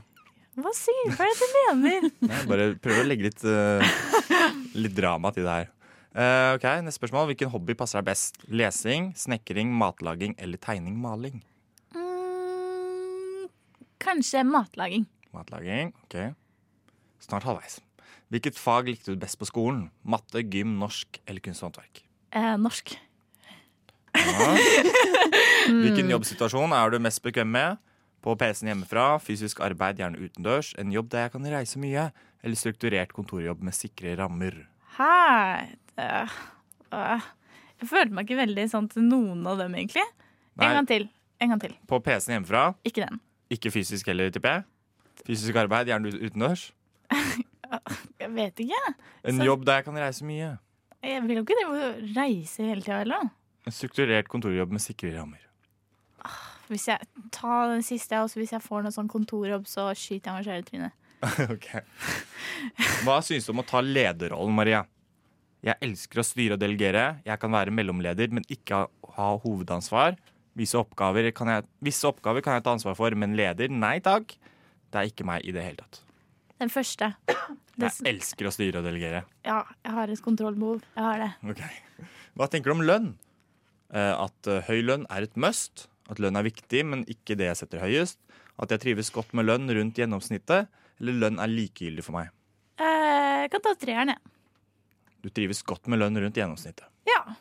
F: Hva sier du? Hva er det du mener?
D: Nei, bare prøv å legge litt, eh, litt drama til det her. Eh, ok, Neste spørsmål. Hvilken hobby passer deg best? Lesing, snekring, matlaging eller tegning, maling?
F: Mm, Kanskje matlaging.
D: Matlaging, ok. Snart halvveis. Hvilket fag likte du best på skolen? Matte, gym, norsk eller kunst og håndverk?
F: Eh, norsk.
D: Ja.
F: Hmm.
D: Hvilken jobbsituasjon er du mest bekvem med? På PC-en hjemmefra, fysisk arbeid, gjerne utendørs, en jobb der jeg kan reise mye, eller strukturert kontorjobb med sikre rammer?
F: Hæ? Eh, eh, Jeg følte meg ikke veldig sånn til noen av dem, egentlig.
D: Nei.
F: En gang til. En gang til.
D: På PC-en hjemmefra,
F: Ikke den.
D: ikke fysisk heller, tipper jeg. Fysisk arbeid, gjerne ut- utendørs.
F: Jeg vet ikke.
D: En jobb der jeg kan reise mye.
F: Jeg vil jo ikke drive og reise hele tida heller.
D: En strukturert kontorjobb med sikre rammer.
F: Hvis jeg tar den siste, og så hvis jeg får noen sånn kontorjobb, så skyter jeg meg selv i trynet.
D: Ok. Hva syns du om å ta lederrollen, Maria? Jeg elsker å styre og delegere. Jeg kan være mellomleder, men ikke ha, ha hovedansvar. Visse oppgaver, kan jeg, visse oppgaver kan jeg ta ansvar for, men leder? Nei takk. Det er ikke meg i det hele tatt.
F: Den første. Det,
D: Jeg elsker å styre og delegere.
F: ja, jeg har et kontrollbehov. Jeg har det.
D: Ok. Hva tenker du om lønn? Eh, At eh, høy lønn er et must. At lønn er viktig, men ikke det jeg setter høyest. At jeg trives godt med lønn rundt gjennomsnittet. Eller lønn er likegyldig for meg.
F: Eh, Jeg kan ta treeren, jeg.
D: Du trives godt med lønn rundt gjennomsnittet.
F: Ja.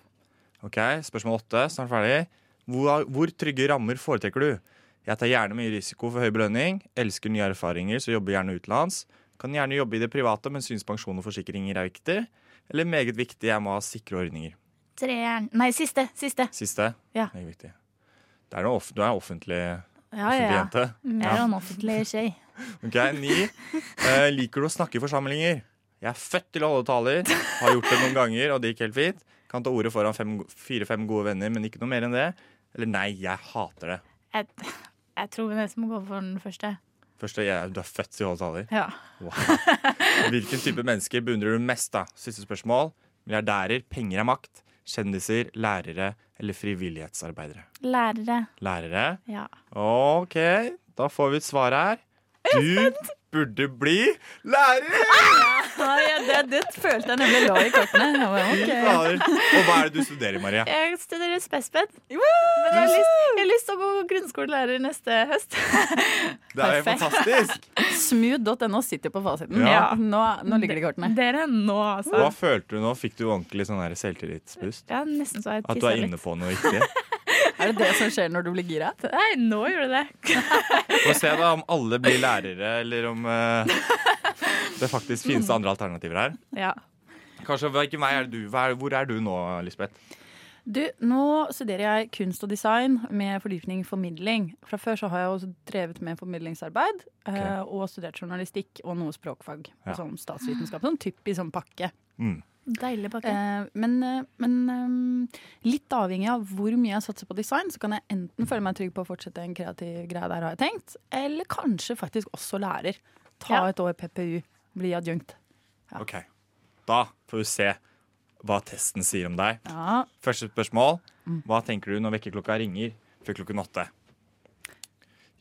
D: Ok, Spørsmål åtte, snart ferdig. Hvor, hvor trygge rammer foretrekker du? Jeg tar gjerne mye risiko for høy belønning. Elsker nye erfaringer, så jobber gjerne utenlands. Kan gjerne jobbe i det private, men syns pensjon og forsikringer er viktig. Eller meget viktig, jeg må ha sikre ordninger.
F: Treeren. Nei, siste. Siste.
D: Siste.
F: Ja.
D: Meget viktig. Det er noe off du er offentlig,
F: Ah, Ja,
D: offentlig
F: ja.
D: jente.
F: Jeg er jo en offentlig skje.
D: Ok, Ni. Eh, liker du å snakke i forsamlinger? Jeg er født til å holde taler. Har gjort det noen ganger, og det gikk helt fint. Kan ta ordet foran fem- fire-fem gode venner, men ikke noe mer enn det. Eller nei, jeg hater det.
F: Jeg, jeg tror vi nesten må gå for den første.
D: Første, jeg, du er født til å holde taler.
F: Ja.
D: Wow. Hvilken type mennesker beundrer du mest, da? Siste spørsmål. Milliardærer, penger er makt. Kjendiser, lærere eller frivillighetsarbeidere?
F: Lærere.
D: Lærere.
F: Ja.
D: Ok, da får vi et svar her. Du burde bli lærer!
F: det, følte jeg nemlig lå i kortene.
D: Fy fader. Og hva er det du studerer, Maria?
F: Jeg studerer spesped. Men jeg har, lyst, jeg har lyst til å gå grunnskolelærer neste høst.
D: Det er jo fantastisk.
G: Smooth.no sitter på fasiten.
D: Ja.
G: Nå, nå ligger det i kortene.
F: Dere, nå altså.
D: Hva følte du nå? Fikk du ordentlig sånn her selvtillitsboost?
F: Ja, nesten så jeg
D: At du
F: tisset
D: er
F: litt.
D: inne på noe riktig?
G: Er det det som skjer når du blir gira?
F: Nei, nå gjorde det det.
D: Få se da om alle blir lærere, eller om eh, det faktisk finnes andre alternativer her.
F: Ja.
D: Kanskje, hvilken vei er du? Hva er- Hvor er du nå, Lisbeth?
G: Du, nå studerer jeg kunst og design med fordypning i formidling. Fra før så har jeg også drevet med formidlingsarbeid eh, og studert journalistikk og noe språkfag.
D: Ja.
G: Sånn statsvitenskap. Sånn typisk sånn pakke.
D: Mm.
F: Deilig pakke.
G: Eh, men eh, men eh, litt avhengig av hvor mye jeg satser på design, så kan jeg enten føle meg trygg på å fortsette en kreativ greie der, har jeg tenkt. Eller kanskje faktisk også lærer. Ta et år PPU, bli adjunkt.
D: Ok, Da får vi se hva testen sier om deg.
G: Ja.
D: Første spørsmål. Hva tenker du når vekkerklokka ringer før klokken åtte?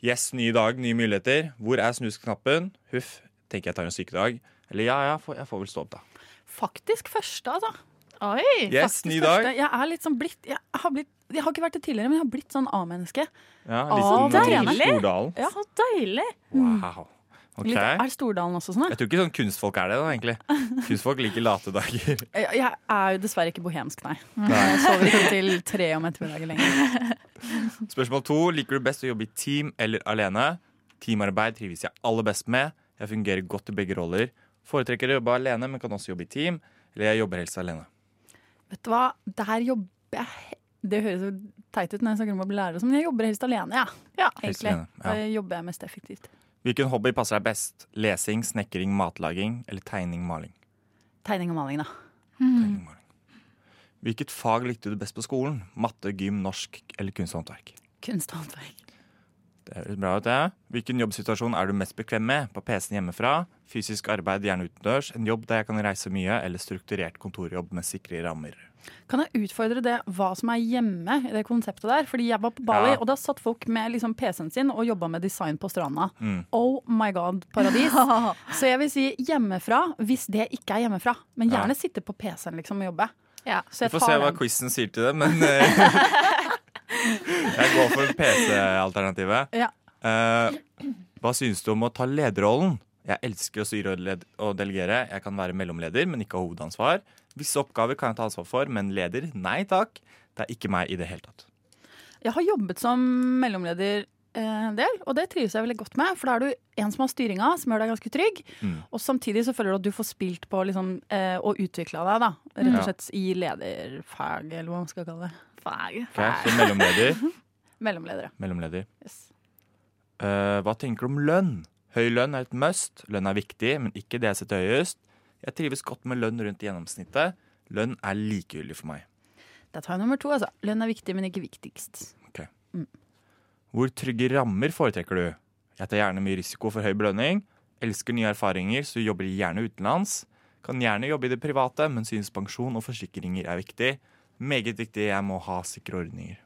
D: Yes, ny dag, nye muligheter. Hvor er snusknappen? Huff, tenker jeg tar en sykedag. Eller ja, ja, får- jeg får vel stå opp, da.
G: Faktisk første, altså.
F: Eh, Oi!
D: Yes,
G: Faktisk
D: ny dag.
G: første. Jeg er litt sånn blitt jeg, har blitt jeg har ikke vært det tidligere, men jeg har blitt sånn A-menneske.
D: Ja,
G: Å,
D: litt sånn
G: deilig.
D: Stordalen.
G: Ja.
F: Så deilig.
D: Wow. Ok.
G: Litt, er Stordalen også sånn? da?
D: Jeg tror ikke sånn kunstfolk er det, da, egentlig. Kunstfolk liker late dager.
G: Jeg, jeg er jo dessverre ikke bohemsk, nei.
D: Nei.
G: Jeg sover ikke til tre om ettermiddagen lenger.
D: Spørsmål to. Liker du best å jobbe i team eller alene? Teamarbeid trives jeg aller best med. Jeg fungerer godt i begge roller. Foretrekker å jobbe alene, men kan også jobbe i team. Eller jeg jobber helst alene.
G: Vet du hva, der jobber jeg he- Det høres jo teit ut når jeg snakker om å bli lærer, og sånn, men jeg jobber helst alene, ja. ja
D: Helst
G: egentlig.
D: alene, ja.
G: Da jobber jeg mest effektivt.
D: Hvilken hobby passer deg best? Lesing, snekring, matlaging eller tegning, maling?
G: Tegning og maling, da.
D: Hvilket fag likte du best på skolen? Matte, gym, norsk eller kunst og håndverk?
G: Kunst og håndverk.
D: Det høres bra ut, det. Hvilken jobbsituasjon er du mest bekvem med? På PC-en hjemmefra? Fysisk arbeid, gjerne utendørs? En jobb der jeg kan reise mye? Eller strukturert kontorjobb med sikre rammer?
G: Kan jeg utfordre det hva som er hjemme i det konseptet der? Fordi jeg var på Bali,
D: Ja.
G: og da satt folk med liksom PC-en sin og jobba med design på stranda.
D: Mm.
G: Oh my god, paradis. Så jeg vil si hjemmefra, hvis det ikke er hjemmefra. Men
D: Ja.
G: gjerne sitte på PC-en liksom og jobbe.
D: Vi
G: Så jeg
D: får
G: tar
D: se hva
G: den.
D: quizen sier til det, men eh, Jeg går for PC-alternativet.
G: Ja.
D: Eh, hva syns du om å ta lederrollen? Jeg elsker å styre og, led og delegere. Jeg kan være mellomleder, men ikke ha hovedansvar. Visse oppgaver kan jeg ta ansvar for, men leder? Nei takk. Det er ikke meg i det hele tatt.
G: Jeg har jobbet som mellomleder eh, en del, og det trives jeg veldig godt med. For da er du en som har styringa, som gjør deg ganske trygg.
D: Mm.
G: Og samtidig så føler du at du får spilt på liksom, eh, og utvikla deg, da. Rett
D: Ja.
G: og slett i lederfag, eller hva man skal kalle det.
F: Fag.
D: Ok, så mellomleder.
G: Mellomledere.
D: Mellomleder.
G: Yes.
D: Eh, hva tenker du om lønn? Høy lønn er et must. Lønn er viktig, men ikke det jeg setter høyest. Jeg trives godt med lønn rundt gjennomsnittet. Lønn er likegyldig for meg.
G: Da tar jeg nummer to, altså. Lønn er viktig, men ikke viktigst.
D: Hvor trygge rammer foretrekker du? Jeg tar gjerne mye risiko for høy belønning. Elsker nye erfaringer, så jobber gjerne utenlands. Kan gjerne jobbe i det private, men synes pensjon og forsikringer er viktig. Meget viktig, jeg må ha sikre ordninger.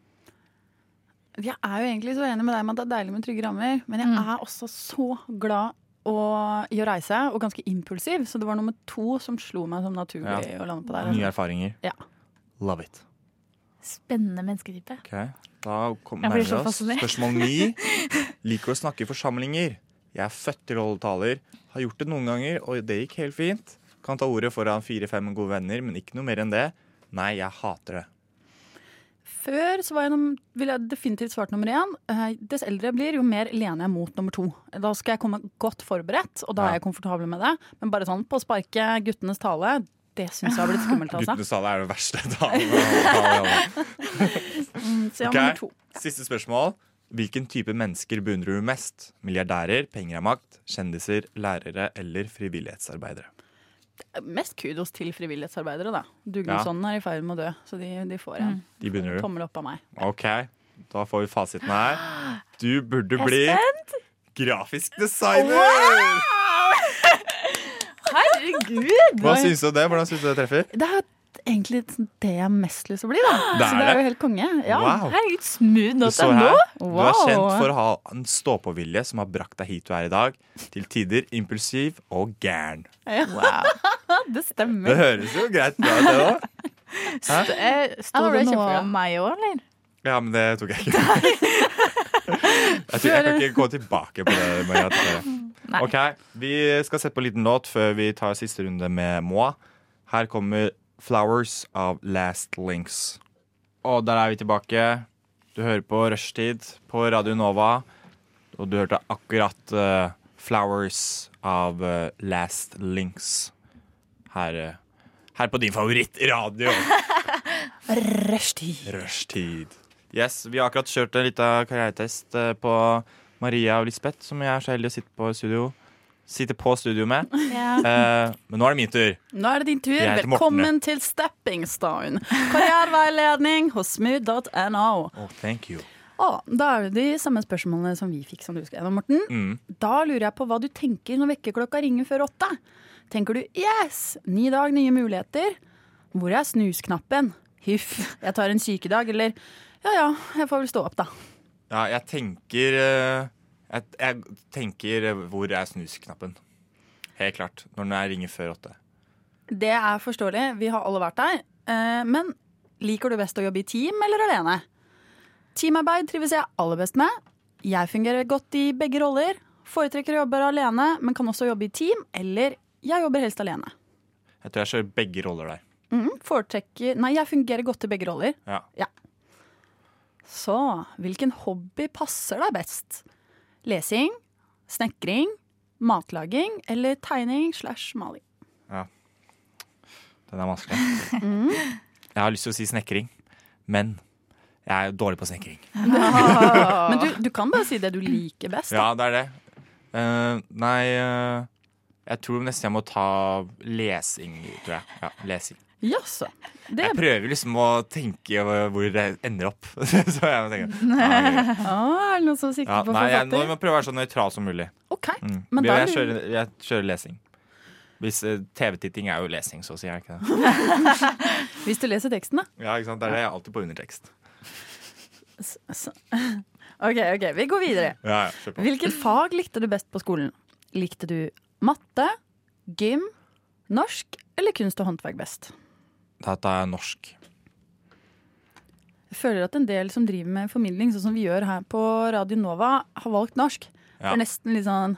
G: Jeg er jo egentlig så enig med deg om at det er deilig med trygge rammer, men jeg er også så glad å- i å reise, og ganske impulsiv. Så det var nummer to som slo meg som naturlig
D: Ja.
G: å lande på der. altså.
D: Nye erfaringer.
G: Ja.
D: Love it.
F: Spennende mennesketype.
D: Ok, Da kom,
F: Jeg blir
D: nærmer
F: så
D: vi oss
F: fascinert.
D: spørsmål ni. Liker å snakke i forsamlinger. Jeg er født til å holde taler. Har gjort det noen ganger, og det gikk helt fint. Kan ta ordet foran fire-fem gode venner, men ikke noe mer enn det. Nei, jeg hater det.
G: Før så var jeg nom- ville jeg definitivt svart nummer én. Eh, Dess eldre jeg blir, jo mer lener jeg mot nummer to. Da skal jeg komme godt forberedt, og da er jeg komfortabel med det. Men bare sånn på sparket, guttenes tale, det syns jeg har blitt skummelt. Altså.
D: Guttenes tale er det verste. Da.
G: Mm, så ja,
D: Ok,
G: nummer to.
D: Siste spørsmål. Hvilken type mennesker beundrer du mest? Milliardærer, penger og makt, kjendiser, lærere eller frivillighetsarbeidere?
G: Mest kudos til frivillighetsarbeidere, da. Dugnadsånden er i ferd med å dø, så de, de får en
D: De beundrer du.
G: tommel opp av meg.
D: Ok, da får vi fasiten her. Du burde
G: Jeg er
D: bli
G: spent.
D: grafisk designer!
G: Herregud!
D: Hva syns du om det? Hvordan syns du det treffer?
G: Det er egentlig sånn det jeg har mest lyst til å bli, da.
D: Det
G: Så
D: er
G: det er
D: det.
G: jo helt konge. Ja.
D: Wow.
F: Herregud, smooth
D: Det
F: nå
D: står
F: til nå.
D: her. Du er kjent for å ha en stå-på-vilje som har brakt deg hit du er i dag. Til tider impulsiv og gæren.
G: Ja. det stemmer.
D: Det høres jo greit ut, det òg.
F: St eh, Sto det
G: Ja, det ble
F: noe
G: kjempebra.
F: om meg òg, eller?
D: Ja, men det tok jeg ikke. Jeg, tror, jeg kan ikke gå tilbake på det. Maria, tror jeg.
F: Nei.
D: Ok, Vi skal sette på en liten låt før vi tar siste runde med Moi. Her kommer 'Flowers' av Last Links. Og der er vi tilbake. Du hører på Rushtid på Radio Nova. Og du hørte akkurat eh, 'Flowers' av eh, Last Links her, eh, her på din favorittradio.
G: Rushtid.
D: Rushtid. Yes, vi har akkurat kjørt en liten karrieretest eh, på Maria og Lisbeth, som jeg er så heldig å sitte på studio Sitte på studio med. Eh, men nå er det min tur.
G: Nå er det din tur.
D: Jeg heter Morten,
G: Velkommen til Stepping Stone. Karriereveiledning hos smooth.no.
D: Oh, thank you.
G: Å, Da er det de samme spørsmålene som vi fikk som du skal gjennom, Morten.
D: Mm.
G: Da lurer jeg på hva du tenker når vekkerklokka ringer før åtte. Tenker du 'yes, ny dag, nye muligheter'? Hvor er snusknappen? Hyff, jeg tar en sykedag, eller ja ja, jeg får vel stå opp, da.
D: Ja, jeg tenker eh, jeg, jeg tenker eh, Hvor er snusknappen? Helt klart. Når den er ringer før åtte.
G: Det er forståelig, vi har alle vært der. Eh, Men liker du best å jobbe i team eller alene? Teamarbeid trives jeg aller best med. Jeg fungerer godt i begge roller. Foretrekker å jobbe alene, men kan også jobbe i team, eller jeg jobber helst alene.
D: Jeg tror jeg kjører begge roller der.
G: Mhm, foretrekker Nei, jeg fungerer godt i begge roller.
D: Ja.
G: Så hvilken hobby passer deg best? Lesing, snekring, matlaging eller tegning slash maling?
D: ja. Den er vanskelig. Jeg har lyst til å si snekring, men jeg er jo dårlig på snekring.
G: Men du, du kan bare si det du liker best.
D: Ja, det er det. Eh, nei eh, Jeg tror nesten jeg må ta lesing, tror jeg. Ja, lesing.
G: Jaså. Det
D: Jeg prøver liksom å tenke over hvor det ender opp. Så jeg må tenke ja, ok.
G: Ah, er det noen som sikter
D: ja,
G: på
D: Nei, jeg, nå
G: forfatter?
D: må jeg prøve å være så nøytral som mulig.
G: Ok,
D: Mm. Ja,
G: men da
D: jeg,
G: lurer-
D: kjører, jeg kjører lesing. Hvis eh, TV-titting er jo lesing, så sier jeg ikke det.
G: Hvis du leser teksten, da.
D: Ja, ikke sant? Det er det jeg alltid på undertekst.
G: S- s- Ok, ok, vi går videre.
D: Ja, ja, kjør på.
G: Hvilket fag likte du best på skolen? Likte du matte, gym, norsk eller kunst og håndverk best?
D: Da tar jeg norsk.
G: Jeg føler at en del som driver med formidling, sånn som vi gjør her på Radio Nova, har valgt norsk. Det
D: Ja.
G: er nesten litt sånn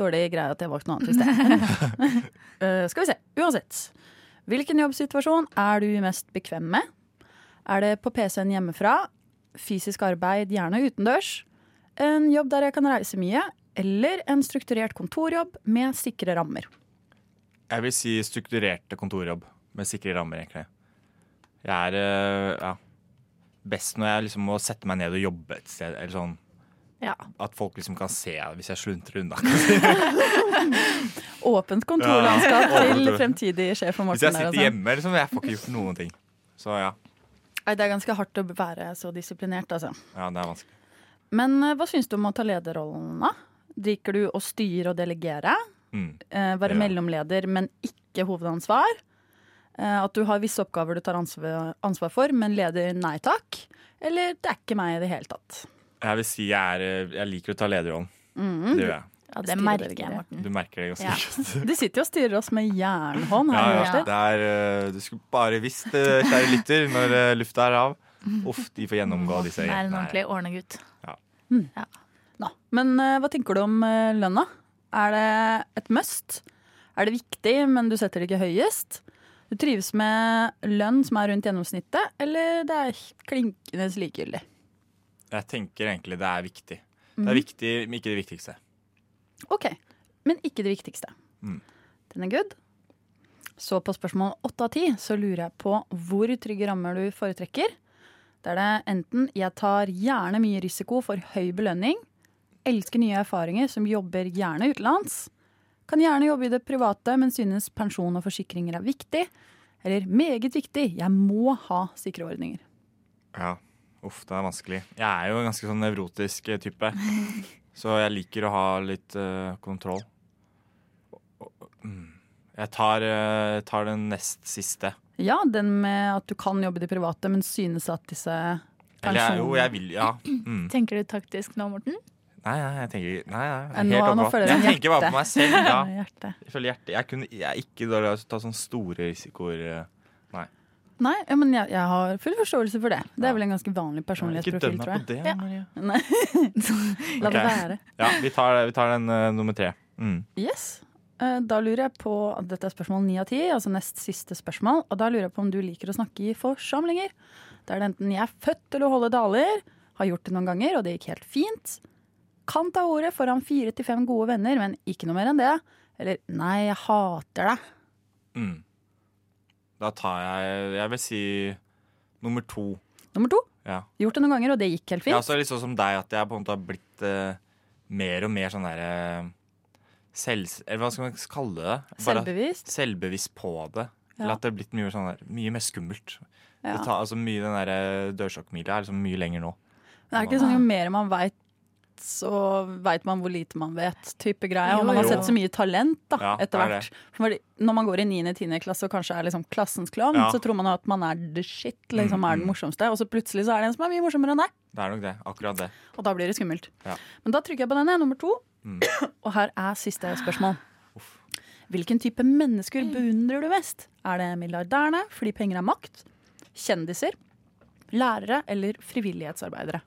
G: dårlig greie at jeg har valgt noe annet i sted. Eh, skal vi se. Uansett. Hvilken jobbsituasjon er du mest bekvem med? Er det på PC-en hjemmefra? Fysisk arbeid, gjerne utendørs? En jobb der jeg kan reise mye? Eller en strukturert kontorjobb med sikre rammer?
D: Jeg vil si strukturerte kontorjobb med sikre rammer, egentlig. Jeg er eh, ja, best når jeg liksom må sette meg ned og jobbe et sted. Eller sånn.
F: Ja.
D: At folk liksom kan se hvis jeg sluntrer unna.
G: Åpent kontorlandskap
D: Ja, åpent
G: til
D: kontor.
G: fremtidig sjef for
D: Hvis
G: Morten.
D: jeg
G: der,
D: sitter
G: altså.
D: hjemme, liksom, jeg får ikke gjort noen ting. Så ja,
G: Nei, Det er ganske hardt å være så disiplinert, altså.
D: ja det er vanskelig.
G: Men eh, hva syns du om å ta lederrollen, da? Drikker du å styre og delegere?
D: Mm.
G: Eh, være
D: Ja.
G: mellomleder, men ikke hovedansvar? Eh, at du har visse oppgaver du tar ansvar, ansvar for, men leder nei takk? Eller det er ikke meg i det hele tatt?
D: Jeg vil si jeg, er, eh, jeg liker å ta lederrollen.
G: Mhm.
D: Det gjør jeg.
F: Ja,
G: det merker jeg, Morten.
D: Du merker det ganske
G: Ja.
D: godt.
G: Du sitter jo og styrer oss med jernhånd
D: Ja,
G: her.
D: ja. Det er, eh, du skulle bare visst, eh, kjære lytter, når eh, lufta er av. Uff, de får gjennomgå disse
F: Det er en
D: jentene her.
F: ordentlig ordna gutt.
G: Mm. Nå. Men eh, hva tenker du om eh, lønna? Er det et must? Er det viktig, men du setter det ikke høyest? Du trives med lønn som er rundt gjennomsnittet, eller det er klinkende likegyldig?
D: Jeg tenker egentlig det er viktig. Det
G: Mhm.
D: er viktig, men ikke det viktigste.
G: Ok, men ikke det viktigste.
D: Mm.
G: Den er good. Så på spørsmål 8 av 10 så lurer jeg på hvor trygge rammer du foretrekker. Da er det enten jeg tar gjerne mye risiko for høy belønning, elsker nye erfaringer som jobber gjerne utenlands, kan gjerne jobbe i det private, men synes pensjon og forsikringer er viktig, eller meget viktig, jeg må ha sikre ordninger.
D: Ja. Uff, det er vanskelig. Jeg er jo en ganske sånn nevrotisk eh, type. Så jeg liker å ha litt eh, kontroll. Og- og- mm. Jeg tar, eh, tar den nest siste.
G: Ja, den med at du kan jobbe i det private, men synes at disse
D: Eller jeg, jo,
G: pensjonene
D: jeg vil Ja. Mm.
F: Tenker du taktisk nå, Morten?
D: Nei, nei, jeg tenker ikke- Nei, nei.
G: Nei, nå-
D: helt
G: nå
D: oppå.
G: føler jeg
D: Jeg
G: sånn hjertet.
D: tenker bare på meg selv. Ja.
G: Hjertet.
D: Jeg føler hjertet. Jeg, kunne, jeg er ikke dårlig til å ta sånne store risikoer. eh, Nei.
G: Nei, ja, men jeg, jeg har full forståelse for det. Det er vel en ganske vanlig
D: Ikke
G: personlighetsprofil,
D: døm meg
G: tror
D: på
G: jeg.
D: det, Maria.
G: Nei. La det
D: Ok.
G: være.
D: Ja, vi tar, vi tar den eh, nummer tre. Mm.
G: Yes. Eh, Da lurer jeg på Dette er spørsmål ni av ti, altså nest siste spørsmål. Og da lurer jeg på om du liker å snakke i forsamlinger. Da er det enten 'jeg er født til å holde daler', har gjort det noen ganger, og det gikk helt fint. Kan ta ordet foran fire til fem gode venner, men ikke noe mer enn det. Eller 'nei, jeg hater deg'.
D: Mm. Da tar jeg Jeg vil si nummer to.
G: Nummer to.
D: Ja.
G: Gjort det noen ganger, og det gikk helt fint.
D: Ja, så er det litt sånn som deg, at jeg på en måte har blitt eh, mer og mer sånn derre selv... Eller hva skal man kalle det?
G: Selvbevisst?
D: Selvbevisst på det. Eller
G: Ja.
D: at det er blitt mye, sånn der, mye mer skummelt.
G: Ja.
D: Det tar, altså mye Den derre dørstokkmila er liksom mye lenger nå.
G: Det er ikke sånn jo mer man veit, så veit man hvor lite man vet, type greie.
D: Jo,
G: Og man har
D: jo.
G: sett så mye talent da,
D: Ja, det
G: etter
D: er
G: hvert. Fordi når man går i 9.-10. klasse og kanskje er liksom klassens klovn,
D: Ja.
G: så tror man at man er the shit, liksom
D: Mm,
G: er den morsomste. Og så plutselig så er det en som er mye morsommere enn deg.
D: Det er nok det. Akkurat det.
G: Og da blir det skummelt.
D: Ja.
G: Men da trykker jeg på denne, nummer to.
D: Mm.
G: Og her er siste spørsmål. Hvilken type mennesker beundrer du mest? Er det milliardærene fordi penger er makt? Kjendiser? Lærere eller frivillighetsarbeidere?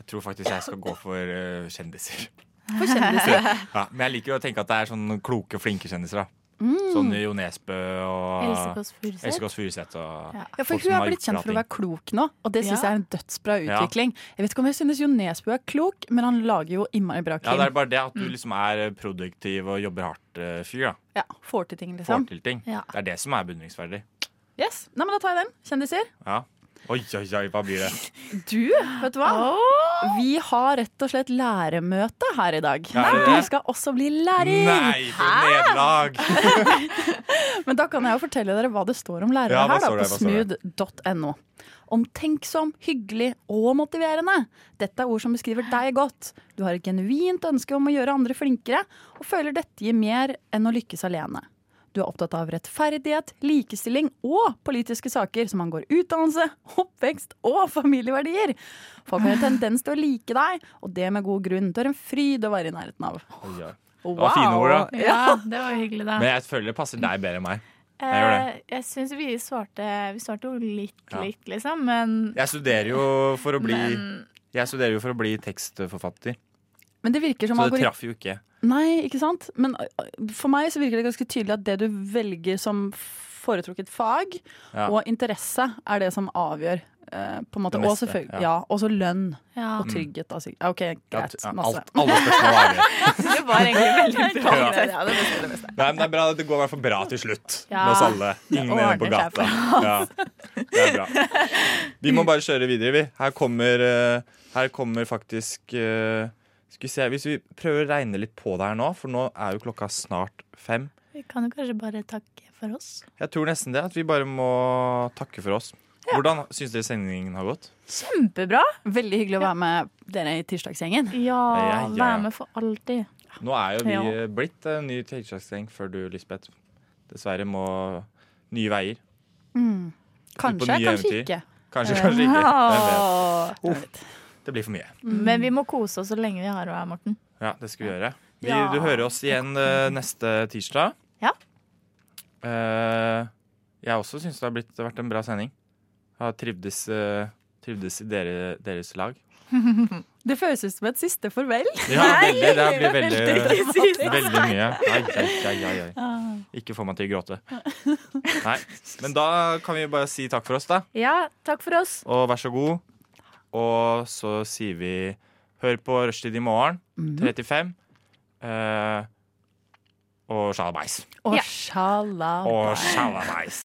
D: Jeg tror faktisk jeg skal gå for eh, kjendiser.
G: For kjendiser.
D: Ja, men jeg liker jo å tenke at det er sånn kloke, flinke kjendiser. da
G: Mm.
D: Sånn Jo Nesbø og
G: Else Kåss Furuseth.
D: Ah, Else Kåss Furuseth. og
G: Ja, for
D: folk som
G: Hun
D: har
G: er blitt
D: gjort bra
G: kjent for å
D: ting.
G: være klok nå, og det syns
F: Ja.
G: jeg er en dødsbra
D: Ja.
G: utvikling. Jeg vet ikke om jeg synes Jo Nesbø er klok, men han lager jo innmari
D: Ja,
G: bra krim.
D: det er bare det at du
G: Mm.
D: liksom er produktiv og jobber hardt eh, fyr, da.
G: Ja, Får til ting, liksom.
D: Får til ting.
G: Ja.
D: Det er det som er beundringsverdig.
G: Yes, Nei, men Da tar jeg den. Kjendiser.
D: Ja. Oi, oi, oi, hva blir det?
G: Du, vet du hva? Vi har rett og slett læremøte her i dag.
D: Ja, er det
G: For
D: det?
G: Du skal også bli lærer!
D: Nei, for nederlag!
G: Men da kan jeg jo fortelle dere hva det står om lærere
L: Ja, hva
G: her da,
L: står
G: på
L: det, hva står
G: smooth.no. Omtenksom, hyggelig og motiverende. Dette er ord som beskriver deg godt. Du har et genuint ønske om å gjøre andre flinkere, og føler dette gir mer enn å lykkes alene. Du er opptatt av rettferdighet, likestilling og politiske saker som angår utdannelse, oppvekst og familieverdier. Folk har en tendens til å like deg, og det med god grunn. Du er en fryd å være i nærheten av.
D: Oi, oi. Det var fine ord, da.
F: Ja, det var hyggelig, da.
D: Men jeg føler det passer deg bedre enn meg. Jeg gjør det.
F: Eh, jeg syns vi svarte Vi svarte jo litt,
D: Ja.
F: litt, liksom, men
D: Jeg studerer jo for å bli
F: Men-
D: Jeg studerer jo for å bli tekstforfatter,
G: Men det virker som
D: så det
G: algorit-
D: traff jo ikke.
G: Nei, ikke sant? Men ø, ø, for meg så virker det ganske tydelig at det du velger som foretrukket fag
D: Ja.
G: og interesse, er det som avgjør. eh, på en måte.
D: Det
G: Og
D: meste,
G: selvfølgelig,
D: ja. Mm.
G: ja. og så lønn
F: Ja.
G: og trygghet. Da, sikkert. Ja, OK, greit.
D: Ja,
G: masse.
D: alt- alle spørsmål er
F: Det var egentlig veldig bra.
D: Ja.
F: Ja, det beste, det beste.
D: Nei, men det er bra. Det går i hvert fall bra til slutt
F: Ja.
D: med oss alle. Ingen
F: Det
D: er på
F: ordner seg
D: gata.
F: for
D: Ja.
F: oss.
D: Det er bra. Vi må bare kjøre videre, vi. Her kommer, eh, her kommer faktisk eh, Skal vi se Hvis vi prøver å regne litt på det her nå, for nå er jo klokka snart fem.
F: Vi kan jo kanskje bare takke for oss.
D: Jeg tror nesten det, at vi bare må takke for oss. Hvordan syns dere sendingen har gått?
G: Kjempebra! Veldig hyggelig å være med dere i tirsdagsgjengen.
D: Ja, ja, ja. være med
F: for alltid.
D: Nå er jo vi
G: Ja.
D: eh, blitt en ny tirsdagsgjeng før du, Lisbeth. Dessverre må nye veier.
G: Mm.
D: Ut på
G: Kanskje,
D: nye
G: kanskje
D: eventyr.
G: ikke.
D: Kanskje,
G: Eh,
D: kanskje ikke. Hvem vet?
G: åh.
D: Uff. Det blir for mye.
F: Men vi må kose oss så lenge vi har henne her, Morten.
D: Ja, det skal vi gjøre. Vi,
F: Ja.
D: Du hører oss igjen eh, neste tirsdag.
F: Ja.
D: Eh, jeg også syns det har blitt, det har vært en bra sending. Jeg har trivdes, eh, trivdes i dere, deres lag.
G: Det føles ut som et siste farvel.
D: Ja, veldig, det blir veldig,
G: dramatisk.
D: veldig mye. Ai, ai, ai, ai, ai. Ikke få meg til å gråte. Nei. Men da kan vi bare si takk for oss, da.
F: Ja, takk for oss.
D: Og vær så god. Og så sier vi hør på Rushtid i morgen, 35. eh, og sjalabais.
G: Og sjalabais.
D: Og sjalabais.